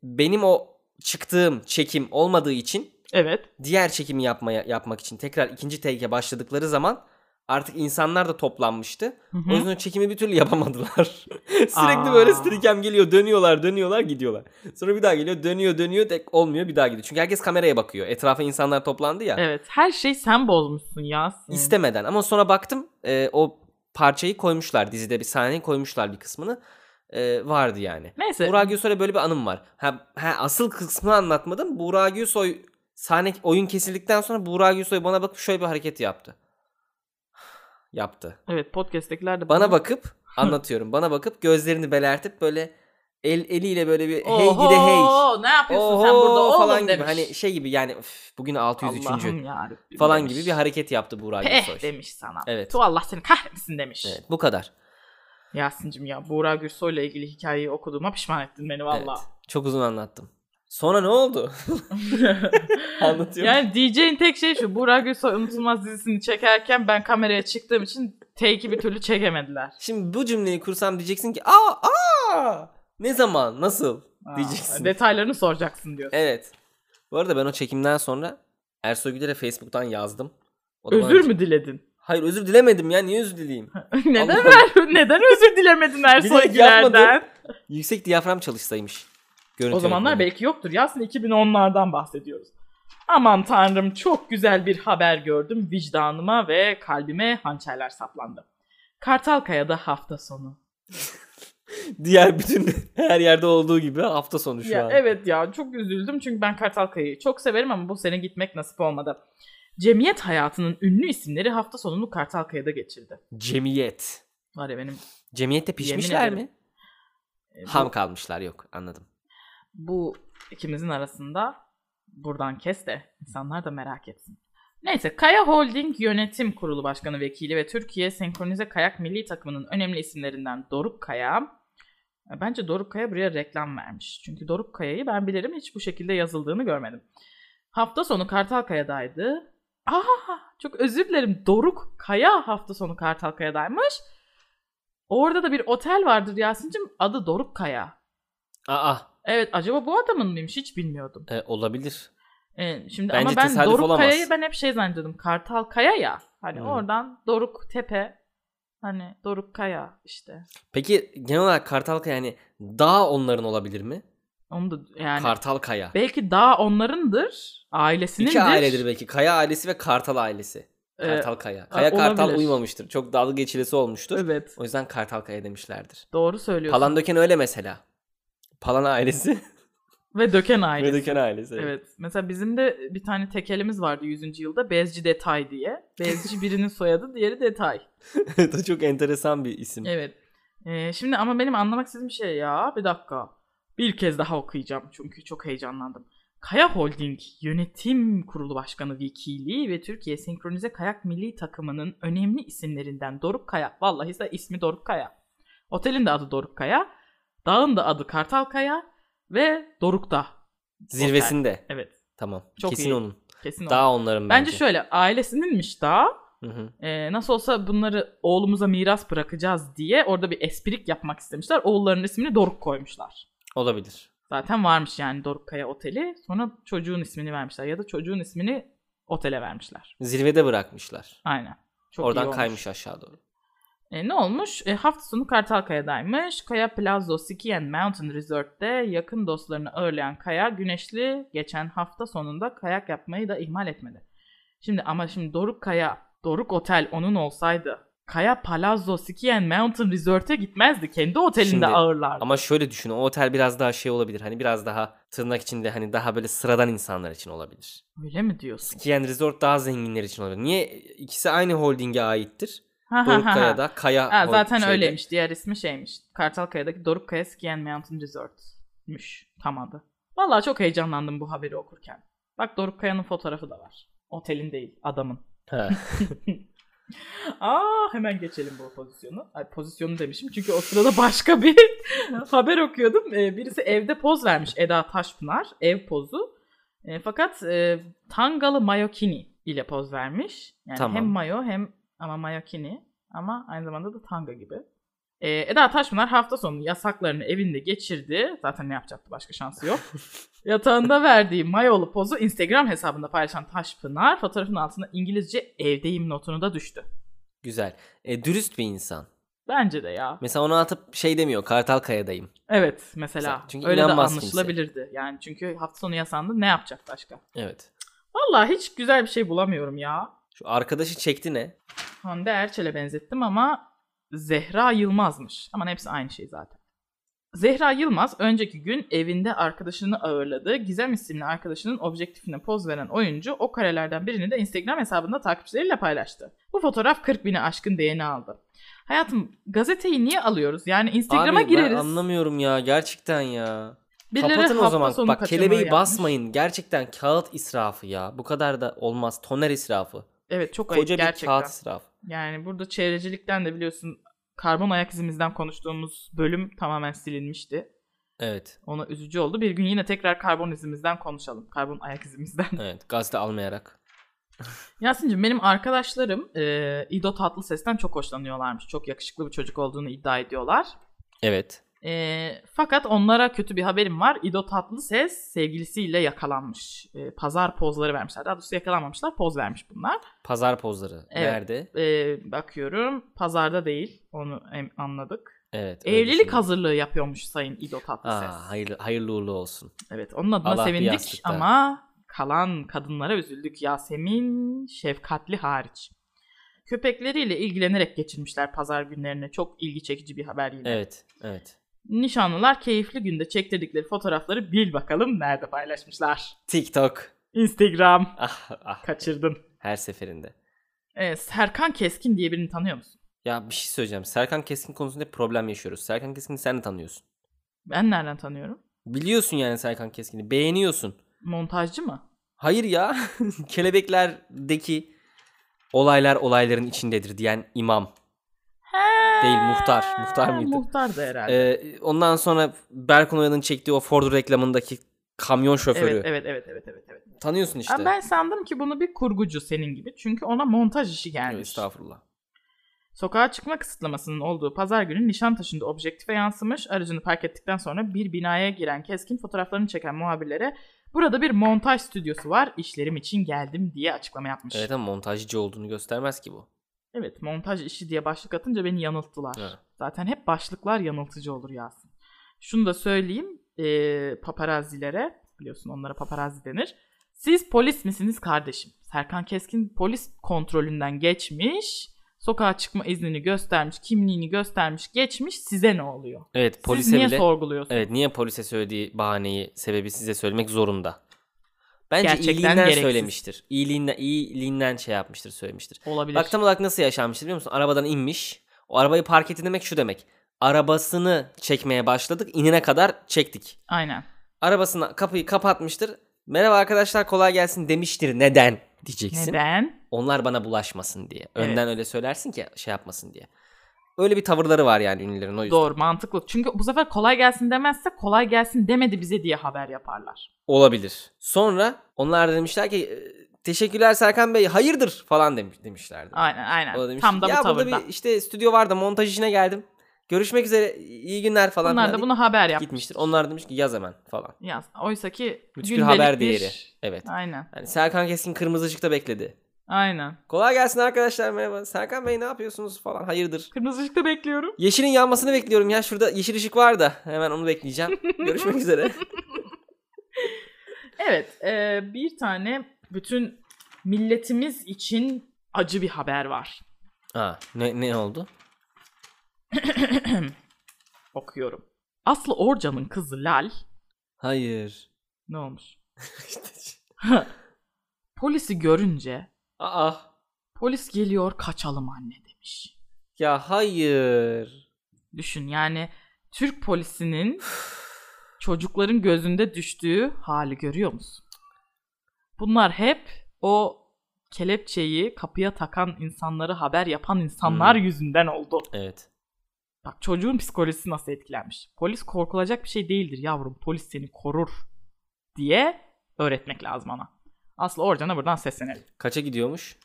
S2: Benim o çıktığım çekim olmadığı için
S1: evet.
S2: diğer çekimi yapmaya yapmak için tekrar ikinci take'e başladıkları zaman artık insanlar da toplanmıştı.
S1: Hı
S2: O
S1: hı.
S2: yüzden o çekimi bir türlü yapamadılar. (laughs) Sürekli
S1: Aa.
S2: böyle strigem geliyor, dönüyorlar, dönüyorlar, gidiyorlar. Sonra bir daha geliyor, dönüyor, dönüyor, tek olmuyor, bir daha gidiyor. Çünkü herkes kameraya bakıyor. Etrafa insanlar toplandı ya.
S1: Evet. Her şey sen bozmuşsun Yasin.
S2: istemeden ama sonra baktım e, o parçayı koymuşlar dizide bir sahneyi koymuşlar bir kısmını E, vardı yani.
S1: Neyse.
S2: Burak Gülsoy'la böyle bir anım var. Ha, ha, asıl kısmını anlatmadım. Burak Gülsoy sahne oyun kesildikten sonra Burak Gülsoy bana bakıp şöyle bir hareket yaptı. yaptı.
S1: Evet podcast'tekiler de
S2: Bana bakıp anlatıyorum. bana bakıp gözlerini belertip böyle el eliyle böyle bir hey
S1: Oho,
S2: gide hey.
S1: Ne yapıyorsun sen burada
S2: Oho
S1: oğlum
S2: falan gibi
S1: demiş.
S2: hani (laughs) şey gibi yani "Üf, bugün 603.
S1: Allah'ım yarabbim
S2: falan
S1: demiş.
S2: gibi bir hareket yaptı Burak Gülsoy.
S1: Peh demiş sana.
S2: Evet.
S1: Tu Allah seni kahretsin demiş.
S2: Evet, bu kadar.
S1: Yasin'cim ya Buğra Gürsoy'la ilgili hikayeyi okuduğuma pişman ettin beni valla.
S2: Evet, çok uzun anlattım. Sonra ne oldu? Anlatıyorum.
S1: yani diyeceğin tek şey şu. Buğra Gürsoy Unutulmaz dizisini çekerken ben kameraya çıktığım için take'i bir türlü çekemediler.
S2: Şimdi bu cümleyi kursam diyeceksin ki aa aa ne zaman nasıl
S1: Aa,
S2: diyeceksin. E,
S1: Detaylarını soracaksın diyorsun.
S2: Evet. Bu arada ben o çekimden sonra Ersoy Güler'e Facebook'tan yazdım. O da bana-
S1: Özür mü diledin? (laughs)
S2: Hayır özür dilemedim ya niye özür dileyim?
S1: neden
S2: Allah
S1: ver, neden özür dilemedin Ersoy'gilerden?
S2: yapmadım. Yüksek diyafram çalışsaymış. Görüntü
S1: O zamanlar
S2: yönetmeni.
S1: belki yoktur. Yasin 2010'lardan bahsediyoruz. Aman tanrım çok güzel bir haber gördüm. Vicdanıma ve kalbime hançerler saplandı. Kartalkaya'da hafta sonu.
S2: Diğer bütün (laughs) her yerde olduğu gibi hafta sonu şu
S1: Ya,
S2: an.
S1: evet ya çok üzüldüm çünkü ben Kartalkaya'yı çok severim ama bu sene gitmek nasip olmadı. Cemiyet hayatının ünlü isimleri hafta sonunu Kartalkaya'da geçirdi.
S2: Cemiyet.
S1: Var ya benim
S2: Cemiyette pişmişler
S1: ederim.
S2: mi?
S1: e, bu-
S2: Ham kalmışlar yok anladım.
S1: bu ikimizin arasında buradan kes de insanlar da merak etsin. Neyse Kaya Holding Yönetim Kurulu Başkanı Vekili ve Türkiye Senkronize Kayak Milli Takımı'nın önemli isimlerinden Doruk Kaya. E, Bence Doruk Kaya buraya reklam vermiş. Çünkü Doruk Kaya'yı ben bilirim hiç bu şekilde yazıldığını görmedim. Hafta sonu Kartalkaya'daydı. Aa çok özür dilerim Doruk Kaya hafta sonu Kartalkaya'daymış. Orada da bir otel vardır Yasin'cim adı Doruk Kaya.
S2: Aa
S1: Evet acaba bu adamın mıymış hiç bilmiyordum.
S2: e, olabilir.
S1: Ee, şimdi
S2: Bence
S1: ama ben
S2: tesadüf
S1: Doruk
S2: olamaz. Hmm.
S1: Kaya'yı ben hep şey zannediyordum. Kartal Kaya ya. Hani
S2: Hı.
S1: oradan Doruk Tepe. Hani Doruk Kaya işte.
S2: Peki genel olarak Kartalkaya yani daha onların olabilir mi?
S1: Onu da yani
S2: Kartalkaya.
S1: belki daha onlarındır. Ailesinindir.
S2: İki ailedir belki. Kaya ailesi ve Kartal ailesi.
S1: Ee,
S2: Kartal Kaya. Kaya
S1: olabilir.
S2: Kartal uymamıştır. Çok dalga geçilesi olmuştur.
S1: evet.
S2: O yüzden Kartal Kaya demişlerdir.
S1: Doğru söylüyorsun.
S2: Palandöken öyle mesela. Palan ailesi
S1: Ve Döken
S2: ve
S1: ailesi.
S2: Döken ailesi.
S1: Evet.
S2: evet. (laughs)
S1: Mesela bizim de bir tane tekelimiz vardı 100. yılda. Bezci Detay diye. Bezci birinin soyadı, diğeri Detay.
S2: Evet. Çok enteresan bir isim.
S1: Evet. Ee, şimdi ama benim anlamak istediğim şey ya bir dakika. Bir kez daha okuyacağım çünkü çok heyecanlandım. Kaya Holding Yönetim Kurulu Başkanı Vekili ve Türkiye Senkronize Kayak Milli Takımı'nın önemli isimlerinden Doruk Kaya. Vallahi de ismi Doruk Kaya. Otelin de adı Doruk Kaya. Dağın da adı Kartal Kaya ve Doruk'ta.
S2: Zirvesinde.
S1: Evet.
S2: Tamam.
S1: Çok
S2: Kesin
S1: iyi.
S2: onun.
S1: Kesin o.
S2: Daha onların bence.
S1: Bence şöyle ailesininmiş daha.
S2: Hı hı.
S1: Ee, nasıl olsa bunları oğlumuza miras bırakacağız diye orada bir esprik yapmak istemişler. Oğullarının ismini Doruk koymuşlar.
S2: Olabilir.
S1: Zaten varmış yani Doruk Kaya Oteli. Sonra çocuğun ismini vermişler ya da çocuğun ismini otele vermişler.
S2: Zirvede bırakmışlar.
S1: Aynen. Çok iyi
S2: Oradan
S1: olmuş.
S2: kaymış aşağı doğru.
S1: E, ne olmuş? E, hafta sonu Kartalkaya'daymış. Kaya Plaza Ski and Mountain Resort'te yakın dostlarını ağırlayan Kaya Güneşli geçen hafta sonunda kayak yapmayı da ihmal etmedi. Şimdi ama şimdi Doruk Kaya, Doruk Otel onun olsaydı Kaya Palazzo Ski and Mountain Resort'e gitmezdi. Kendi otelinde
S2: Şimdi-
S1: ağırlardı.
S2: Ama şöyle düşün. O otel biraz daha şey olabilir. Hani biraz daha tırnak içinde hani daha böyle sıradan insanlar için olabilir.
S1: Öyle mi diyorsun?
S2: Ski and Resort daha zenginler için olabilir. Niye? ikisi aynı holdinge aittir.
S1: Ha, ha,
S2: Doruk
S1: ha, ha.
S2: Kaya'da Kaya
S1: Ha,
S2: Holding
S1: zaten
S2: şeyde.
S1: öyleymiş. Diğer ismi şeymiş. Kartalkaya'daki Doruk Kaya Ski and Mountain Resort'muş. Tam adı. Vallahi çok heyecanlandım bu haberi okurken. Bak Doruk Kaya'nın fotoğrafı da var. Otelin değil, adamın.
S2: Ha.
S1: Aa hemen geçelim bu pozisyonu. Ay pozisyonu demişim çünkü o sırada başka bir haber okuyordum. Ee, birisi evde poz vermiş Eda Taşpınar. Ev pozu. Ee, fakat e, tangalı mayokini ile poz vermiş. Yani
S2: Tamam.
S1: hem mayo hem ama mayokini ama aynı zamanda da tanga gibi. Ee, Eda Taşpınar hafta sonu yasaklarını evinde geçirdi. Zaten ne yapacaktı başka şansı yok. Yatağında verdiği mayolu pozu Instagram hesabında paylaşan Taşpınar fotoğrafın altına İngilizce evdeyim notunu da düştü.
S2: Güzel. E, dürüst bir insan.
S1: Bence de ya.
S2: Mesela onu atıp şey demiyor. Kartalkaya'dayım.
S1: Evet mesela.
S2: Mesela, çünkü
S1: Öyle de
S2: inanmaz
S1: anlaşılabilirdi. Yani çünkü hafta sonu yasandı ne yapacak başka?
S2: Evet.
S1: Vallahi hiç güzel bir şey bulamıyorum ya.
S2: Şu arkadaşı çekti ne?
S1: Hande Erçel'e benzettim ama Zehra Yılmaz'mış. Ama hepsi aynı şey zaten. Zehra Yılmaz önceki gün evinde arkadaşını ağırladı. Gizem isimli arkadaşının objektifine poz veren oyuncu o karelerden birini de Instagram hesabında takipçileriyle paylaştı. Bu fotoğraf 40 bini aşkın beğeni aldı. Hayatım gazeteyi niye alıyoruz? Yani Instagram'a
S2: Abi, Ben
S1: gireriz.
S2: anlamıyorum ya. Gerçekten ya.
S1: Birileri
S2: Kapatın o
S1: hafta
S2: zaman.
S1: sonu
S2: Bak
S1: kaçırmayı
S2: kelebeği
S1: yapmış.
S2: basmayın. Gerçekten kağıt israfı ya. Bu kadar da olmaz. Toner israfı.
S1: Evet çok ayıp
S2: Koca bir
S1: gerçekten.
S2: kağıt israfı.
S1: Yani burada çevrecilikten de biliyorsun karbon ayak izimizden konuştuğumuz bölüm tamamen silinmişti.
S2: Evet.
S1: Ona üzücü oldu. Bir gün yine tekrar karbon izimizden konuşalım. Karbon ayak izimizden. (laughs)
S2: Evet. Gazete almayarak.
S1: Yasin'cim benim arkadaşlarım e, İdo Tatlıses'ten çok hoşlanıyorlarmış. Çok yakışıklı bir çocuk olduğunu iddia ediyorlar.
S2: Evet.
S1: E, E, fakat onlara kötü bir haberim var. İdo Tatlıses sevgilisiyle yakalanmış. E, pazar pozları vermişler. Daha doğrusu yakalanmamışlar. Poz vermiş bunlar.
S2: Pazar pozları.
S1: Evet.
S2: Nerede?
S1: E, bakıyorum pazarda değil. Onu em- anladık.
S2: Evet. öyle
S1: Evlilik
S2: düşünüyorum.
S1: hazırlığı yapıyormuş Sayın İdo Tatlıses.
S2: Aa, hayırlı, hayırlı uğurlu olsun.
S1: Evet onun adına
S2: Allah bir
S1: sevindik
S2: yastıkta.
S1: ama kalan kadınlara üzüldük. Yasemin şefkatli hariç. Köpekleriyle ilgilenerek geçirmişler pazar günlerini. Çok ilgi çekici bir haber yine.
S2: Evet. Evet.
S1: Nişanlılar keyifli günde çektirdikleri fotoğrafları bil bakalım nerede paylaşmışlar.
S2: TikTok.
S1: Instagram.
S2: Ah, ah.
S1: Kaçırdın.
S2: Her seferinde.
S1: Evet, Serkan Keskin diye birini tanıyor musun?
S2: Ya bir şey söyleyeceğim. Serkan Keskin konusunda problem yaşıyoruz. Serkan Keskin'i sen de tanıyorsun.
S1: Ben nereden tanıyorum?
S2: Biliyorsun yani Serkan Keskin'i. Beğeniyorsun.
S1: Montajcı mı?
S2: Hayır ya. (laughs) Kelebeklerdeki olaylar olayların içindedir diyen imam.
S1: He,
S2: Değil, muhtar. Muhtar mıydı?
S1: Muhtar da herhalde.
S2: Ee, ondan sonra Berkun Oya'nın çektiği o Ford reklamındaki kamyon şoförü.
S1: evet, evet, evet, evet, evet, evet.
S2: Tanıyorsun işte.
S1: Ama ben sandım ki bunu bir kurgucu senin gibi. Çünkü ona montaj işi
S2: Evet,
S1: gelmiş.
S2: Estağfurullah.
S1: Sokağa çıkma kısıtlamasının olduğu pazar günü Nişantaşı'nda objektife yansımış. Aracını park ettikten sonra bir binaya giren keskin fotoğraflarını çeken muhabirlere burada bir montaj stüdyosu var işlerim için geldim diye açıklama yapmış.
S2: Evet ama montajcı olduğunu göstermez ki bu.
S1: Evet, montaj işi diye başlık atınca beni yanılttılar.
S2: Ha.
S1: Zaten hep başlıklar yanıltıcı olur Yasin. Şunu da söyleyeyim eee paparazzilere biliyorsun onlara paparazzi denir. Siz polis misiniz kardeşim? Serkan Keskin polis kontrolünden geçmiş. Sokağa çıkma iznini göstermiş, kimliğini göstermiş, geçmiş. Size ne oluyor?
S2: Evet
S1: Siz
S2: polise
S1: niye
S2: bile
S1: sorguluyorsunuz?
S2: Evet niye polise söylediği bahaneyi sebebi size söylemek zorunda? Bence
S1: Gerçekten
S2: iyiliğinden
S1: gereksiz.
S2: söylemiştir. İyiliğinden, iyiliğinden şey yapmıştır söylemiştir.
S1: Olabilir.
S2: Bak tam olarak nasıl yaşanmıştır biliyor musun? Arabadan inmiş. O arabayı park etti demek şu demek. Arabasını çekmeye başladık. inine kadar çektik.
S1: Aynen.
S2: Arabasını kapıyı kapatmıştır. Merhaba arkadaşlar kolay gelsin demiştir. Neden diyeceksin.
S1: Neden?
S2: Onlar bana bulaşmasın diye.
S1: Evet.
S2: Önden öyle söylersin ki şey yapmasın diye. Öyle bir tavırları var yani ünlülerin o yüzden.
S1: Doğru, mantıklı. Çünkü bu sefer kolay gelsin demezse kolay gelsin demedi bize diye haber yaparlar.
S2: Olabilir. Sonra onlar da demişler ki "E, teşekkürler Serkan Bey hayırdır falan demiş, demişlerdi.
S1: Aynen,
S2: O da
S1: aynen.
S2: demiş
S1: Tam
S2: ki,
S1: da bu
S2: ya
S1: tavırda.
S2: burada bir işte stüdyo vardı montaj işine geldim. Görüşmek üzere iyi günler falan.
S1: Bunlar
S2: filan
S1: da
S2: deyip
S1: bunu haber yapmış.
S2: gitmiştir. Onlar demiş ki yaz hemen falan.
S1: Yaz. Oysa ki
S2: Müthiş bir
S1: gündelik
S2: haber
S1: bir-
S2: değeri. Evet.
S1: Aynen.
S2: Yani Serkan Keskin kırmızı ışıkta bekledi.
S1: Aynen.
S2: Kolay gelsin arkadaşlar merhaba. Serkan Bey ne yapıyorsunuz falan hayırdır.
S1: Kırmızı ışıkta bekliyorum.
S2: Yeşilin yanmasını bekliyorum ya şurada yeşil ışık var da hemen
S1: (laughs)
S2: onu bekleyeceğim. Görüşmek üzere.
S1: Evet. e, bir tane bütün milletimiz için acı bir haber var.
S2: Ha, ne, ne oldu?
S1: Okuyorum. Aslı Orcan'ın kızı Lal
S2: Hayır. (laughs)
S1: ne olmuş? Polisi görünce
S2: Aa.
S1: polis geliyor kaçalım anne demiş.
S2: Ya hayır.
S1: Düşün yani Türk polisinin çocukların gözünde düştüğü hali görüyor musun? Bunlar hep o kelepçeyi kapıya takan insanları haber yapan insanlar
S2: Hmm.
S1: yüzünden oldu.
S2: Evet.
S1: Bak çocuğun psikolojisi nasıl etkilenmiş. Polis korkulacak bir şey değildir yavrum. Polis seni korur diye öğretmek lazım ona. Aslı Orcan'a buradan seslenelim.
S2: Kaça gidiyormuş?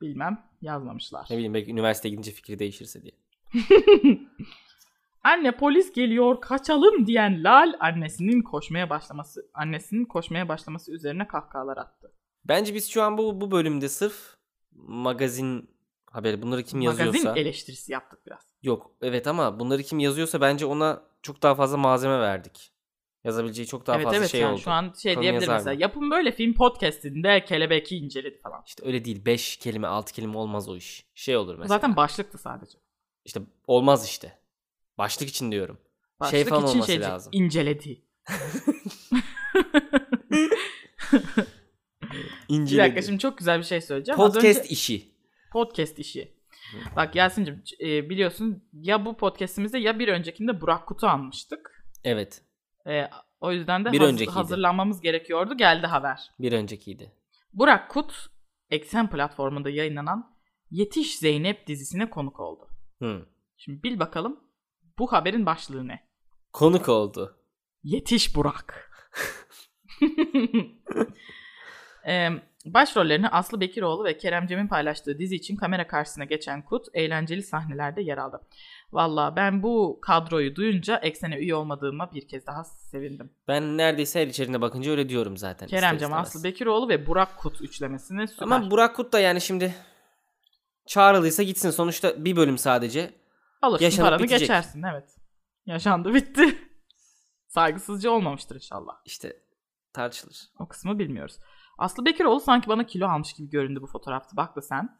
S1: Bilmem yazmamışlar.
S2: Ne bileyim belki üniversiteye gidince fikri değişirse diye.
S1: Anne polis geliyor kaçalım diyen Lal annesinin koşmaya başlaması annesinin koşmaya başlaması üzerine kahkahalar attı.
S2: Bence biz şu an bu bu bölümde sırf magazin haberi bunları kim yazıyorsa.
S1: Magazin eleştirisi yaptık biraz.
S2: Yok evet ama bunları kim yazıyorsa bence ona çok daha fazla malzeme verdik. Yazabileceği çok daha
S1: evet
S2: fazla
S1: evet
S2: şey
S1: yani
S2: oldu.
S1: şu an şey
S2: Kadın
S1: diyebilir
S2: yazar
S1: mesela
S2: mı?
S1: yapın böyle film podcastinde kelebeki inceledi falan.
S2: İşte öyle değil. 5 kelime 6 kelime olmaz o iş. Şey olur mesela.
S1: Zaten başlıktı sadece.
S2: İşte olmaz işte. Başlık için diyorum.
S1: Başlık
S2: Şey falan
S1: için
S2: olması
S1: şeycik,
S2: lazım.
S1: inceledi. Bir
S2: İnceledi.
S1: dakika şimdi çok güzel bir şey söyleyeceğim. Az
S2: Podcast
S1: önce
S2: işi.
S1: podcast işi.
S2: Hmm.
S1: Bak Yasin'cim e, biliyorsun ya bu podcastimizde ya bir öncekinde Burak Kut'u anmıştık.
S2: Evet.
S1: E, o yüzden de
S2: Bir
S1: haz-
S2: öncekiydi.
S1: hazırlanmamız gerekiyordu. Geldi haber.
S2: Bir öncekiydi.
S1: Burak Kut, Eksen platformunda yayınlanan Yetiş Zeynep dizisine konuk oldu.
S2: Hı.
S1: Şimdi bil bakalım bu haberin başlığı ne?
S2: Konuk oldu. (laughs)
S1: Yetiş Burak. Em, Başrollerini Aslı Bekiroğlu ve Kerem Cem'in paylaştığı dizi için kamera karşısına geçen Kut eğlenceli sahnelerde yer aldı. Valla ben bu kadroyu duyunca eksene üye olmadığıma bir kez daha sevindim.
S2: Ben neredeyse her içeriğine bakınca öyle diyorum zaten.
S1: Kerem
S2: ister
S1: Cem,
S2: istemez.
S1: Aslı Bekiroğlu ve Burak Kut üçlemesini süper.
S2: Ama Burak Kut da yani şimdi çağrılıysa gitsin. Sonuçta bir bölüm sadece.
S1: Alırsın
S2: yaşanıp
S1: paranı
S2: bitecek.
S1: geçersin evet. Yaşandı bitti. (laughs) Saygısızca olmamıştır inşallah.
S2: İşte tartışılır.
S1: O kısmı bilmiyoruz. Aslı Bekiroğlu sanki bana kilo almış gibi göründü bu fotoğrafta. Bak da sen.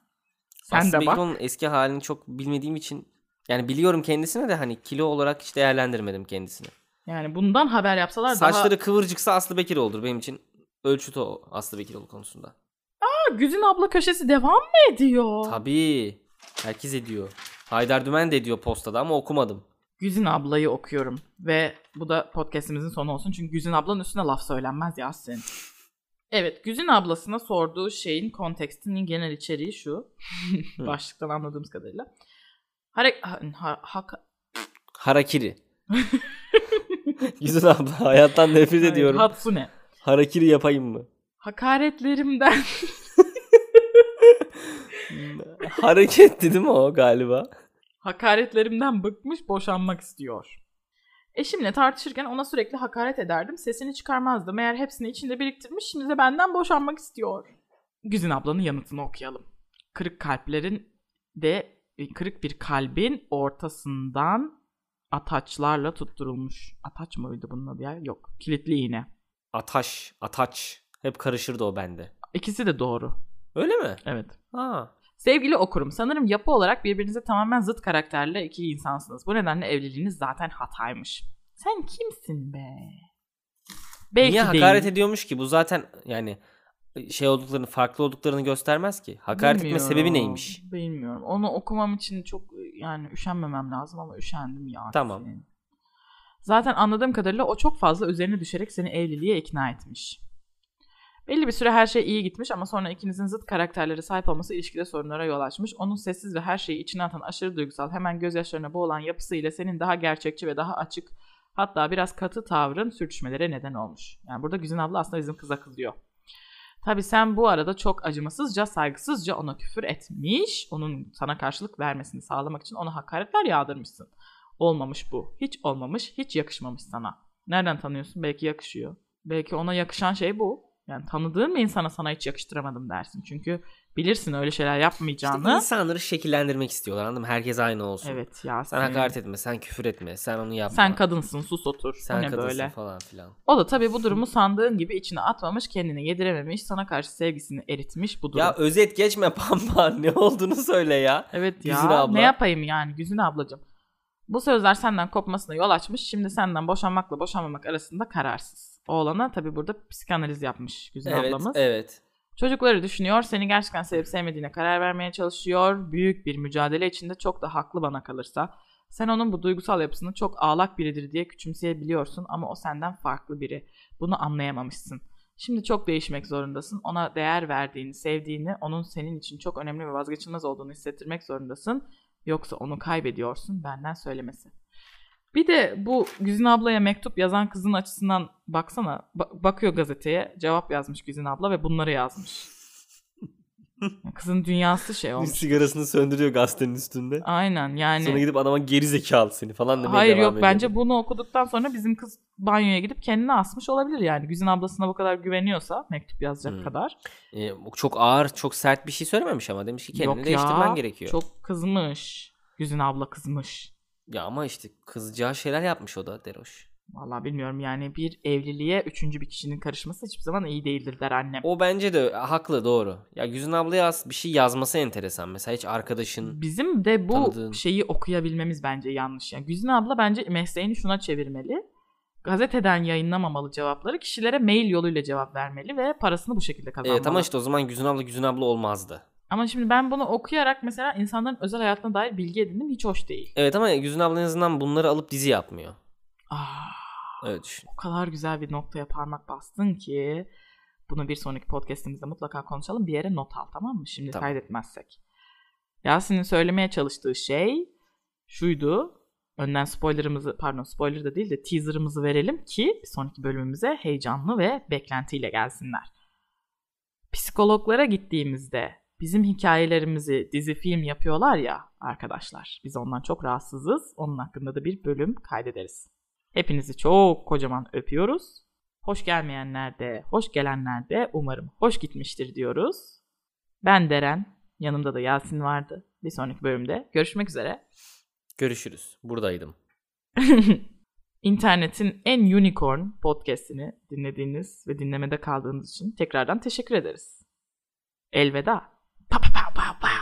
S1: Sen
S2: Aslı
S1: de bak.
S2: Bekiroğlu'nun eski halini çok bilmediğim için yani biliyorum kendisini de hani kilo olarak hiç değerlendirmedim kendisini.
S1: Yani bundan haber yapsalar
S2: Saçları kıvırcıksa Aslı Bekir olur benim için. Ölçüt o Aslı Bekiroğlu konusunda.
S1: daha... Güzin abla köşesi devam mı ediyor?
S2: Tabii. Herkes ediyor. Haydar Dümen de ediyor postada ama okumadım.
S1: Güzin ablayı okuyorum. Ve bu da podcastimizin sonu olsun. Çünkü Güzin ablanın üstüne laf söylenmez ya senin. Evet Güzin ablasına sorduğu şeyin kontekstinin genel içeriği şu. (laughs)
S2: Hı.
S1: Başlıktan anladığımız kadarıyla. Hare- ha- ha- hak-
S2: Harakiri.
S1: (laughs)
S2: Güzel abla hayattan nefret ediyorum.
S1: Hatsune.
S2: Harakiri yapayım mı?
S1: Hakaretlerimden
S2: Hareket değil mi o galiba?
S1: Hakaretlerimden bıkmış boşanmak istiyor. Eşimle tartışırken ona sürekli hakaret ederdim. Sesini çıkarmazdı. Meğer hepsini içinde biriktirmiş. Şimdi de benden boşanmak istiyor. Güzin ablanın yanıtını okuyalım. Kırık kalplerin de e, kırık bir kalbin ortasından ataçlarla tutturulmuş. Ataç mıydı bunun adı ya? Yok. Kilitli iğne.
S2: Ataş, ataç. Hep karışırdı o bende.
S1: İkisi de doğru.
S2: Öyle mi?
S1: Evet.
S2: Ha.
S1: Sevgili okurum, sanırım yapı olarak birbirinize tamamen zıt karakterle iki insansınız. Bu nedenle evliliğiniz zaten hataymış. Sen kimsin be? Belki
S2: Niye
S1: değil.
S2: hakaret ediyormuş ki? Bu zaten yani şey olduklarını, farklı olduklarını göstermez ki. Hakaret etme
S1: Bilmiyorum.
S2: sebebi neymiş?
S1: Bilmiyorum. Onu okumam için çok yani üşenmemem lazım ama üşendim ya.
S2: Tamam.
S1: Zaten anladığım kadarıyla o çok fazla üzerine düşerek seni evliliğe ikna etmiş. Belli bir süre her şey iyi gitmiş ama sonra ikinizin zıt karakterlere sahip olması ilişkide sorunlara yol açmış. Onun sessiz ve her şeyi içine atan aşırı duygusal, hemen gözyaşlarına boğulan yapısıyla senin daha gerçekçi ve daha açık hatta biraz katı tavrın sürtüşmelere neden olmuş. Yani burada Güzin abla aslında bizim kıza kızıyor. Tabi sen bu arada çok acımasızca, saygısızca ona küfür etmiş, onun sana karşılık vermesini sağlamak için ona hakaretler yağdırmışsın. Olmamış bu. Hiç olmamış, hiç yakışmamış sana. Nereden tanıyorsun? Belki yakışıyor. Belki ona yakışan şey bu. Yani tanıdığın bir insana sana hiç yakıştıramadım dersin. Çünkü bilirsin öyle şeyler
S2: İşte
S1: yapmayacağını.
S2: insanları şekillendirmek istiyorlar anladın mı? Herkes aynı olsun.
S1: evet ya
S2: Sen hakaret etme, sen küfür etme, sen onu yapma.
S1: Sen kadınsın, sus otur. Bu
S2: sen
S1: ne
S2: kadınsın
S1: böyle?
S2: falan filan.
S1: O da tabii bu durumu sandığın gibi içine atmamış, kendine yedirememiş, sana karşı sevgisini eritmiş bu durum.
S2: Ya özet geçme (laughs) Pampa ne olduğunu söyle ya.
S1: Evet ya.
S2: Güzin abla.
S1: Ne yapayım yani Güzin ablacığım. Bu sözler senden kopmasına yol açmış. Şimdi senden boşanmakla boşanmamak arasında kararsız. Oğlana tabi burada psikanaliz yapmış Güzin
S2: Evet,
S1: ablamız.
S2: evet.
S1: Çocukları düşünüyor. Seni gerçekten sevip sevmediğine karar vermeye çalışıyor. Büyük bir mücadele içinde çok da haklı bana kalırsa. Sen onun bu duygusal yapısını çok ağlak biridir diye küçümseyebiliyorsun ama o senden farklı biri. Bunu anlayamamışsın. Şimdi çok değişmek zorundasın. Ona değer verdiğini, sevdiğini, onun senin için çok önemli ve vazgeçilmez olduğunu hissettirmek zorundasın. Yoksa onu kaybediyorsun benden söylemesi. Bir de bu Güzin ablaya mektup yazan kızın açısından baksana. Ba- bakıyor gazeteye cevap yazmış Güzin abla ve bunları yazmış. Kızın dünyası şey
S2: Bir
S1: olmuş.
S2: sigarasını söndürüyor gazetenin üstünde.
S1: Aynen yani.
S2: Sonra gidip adama geri zekalı seni falan demeye
S1: Hayır
S2: devam
S1: yok
S2: ediyor.
S1: bence bunu okuduktan sonra bizim kız banyoya gidip kendini asmış olabilir yani. Güzin ablasına bu kadar güveniyorsa mektup yazacak
S2: Hmm.
S1: kadar.
S2: Ee, çok ağır, çok sert bir şey söylememiş ama demiş ki kendini
S1: yok
S2: değiştirmen
S1: ya,
S2: gerekiyor.
S1: Çok kızmış. Güzin abla kızmış.
S2: Ya ama işte kızacağı şeyler yapmış o da Deroş.
S1: Vallahi bilmiyorum yani bir evliliğe üçüncü bir kişinin karışması hiçbir zaman iyi değildir der annem.
S2: O bence de haklı doğru. Ya Güzin ablaya as- bir şey yazması enteresan. Mesela hiç arkadaşın
S1: Bizim de bu
S2: Tanıdığın.
S1: şeyi okuyabilmemiz bence yanlış. Yani Güzin abla bence mesleğini şuna çevirmeli. Gazeteden yayınlamamalı cevapları kişilere mail yoluyla cevap vermeli ve parasını bu şekilde kazanmalı.
S2: Evet ama işte o zaman Güzin abla Güzin abla olmazdı.
S1: Ama şimdi ben bunu okuyarak mesela insanların özel hayatına dair bilgi edindim hiç hoş değil.
S2: Evet ama Güzin abla en azından bunları alıp dizi yapmıyor.
S1: Aa,
S2: Öyle düşün.
S1: o kadar güzel bir noktaya parmak bastın ki bunu bir sonraki podcastimizde mutlaka konuşalım. Bir yere not al tamam mı? Şimdi
S2: Tamam.
S1: kaydetmezsek. Yasin'in söylemeye çalıştığı şey şuydu. Önden spoilerımızı pardon spoiler da değil de teaserımızı verelim ki bir sonraki bölümümüze heyecanlı ve beklentiyle gelsinler. psikologlara gittiğimizde bizim hikayelerimizi dizi film yapıyorlar ya arkadaşlar. Biz ondan çok rahatsızız. Onun hakkında da bir bölüm kaydederiz. Hepinizi çok kocaman öpüyoruz. Hoş gelmeyenler de, hoş gelenler de umarım hoş gitmiştir diyoruz. Ben Deren, yanımda da Yasin vardı. Bir sonraki bölümde görüşmek üzere. (laughs)
S2: Görüşürüz. Buradaydım.
S1: İnternetin en unicorn podcastini dinlediğiniz ve dinlemede kaldığınız için tekrardan teşekkür ederiz. Elveda. Pa pa pa pa pa.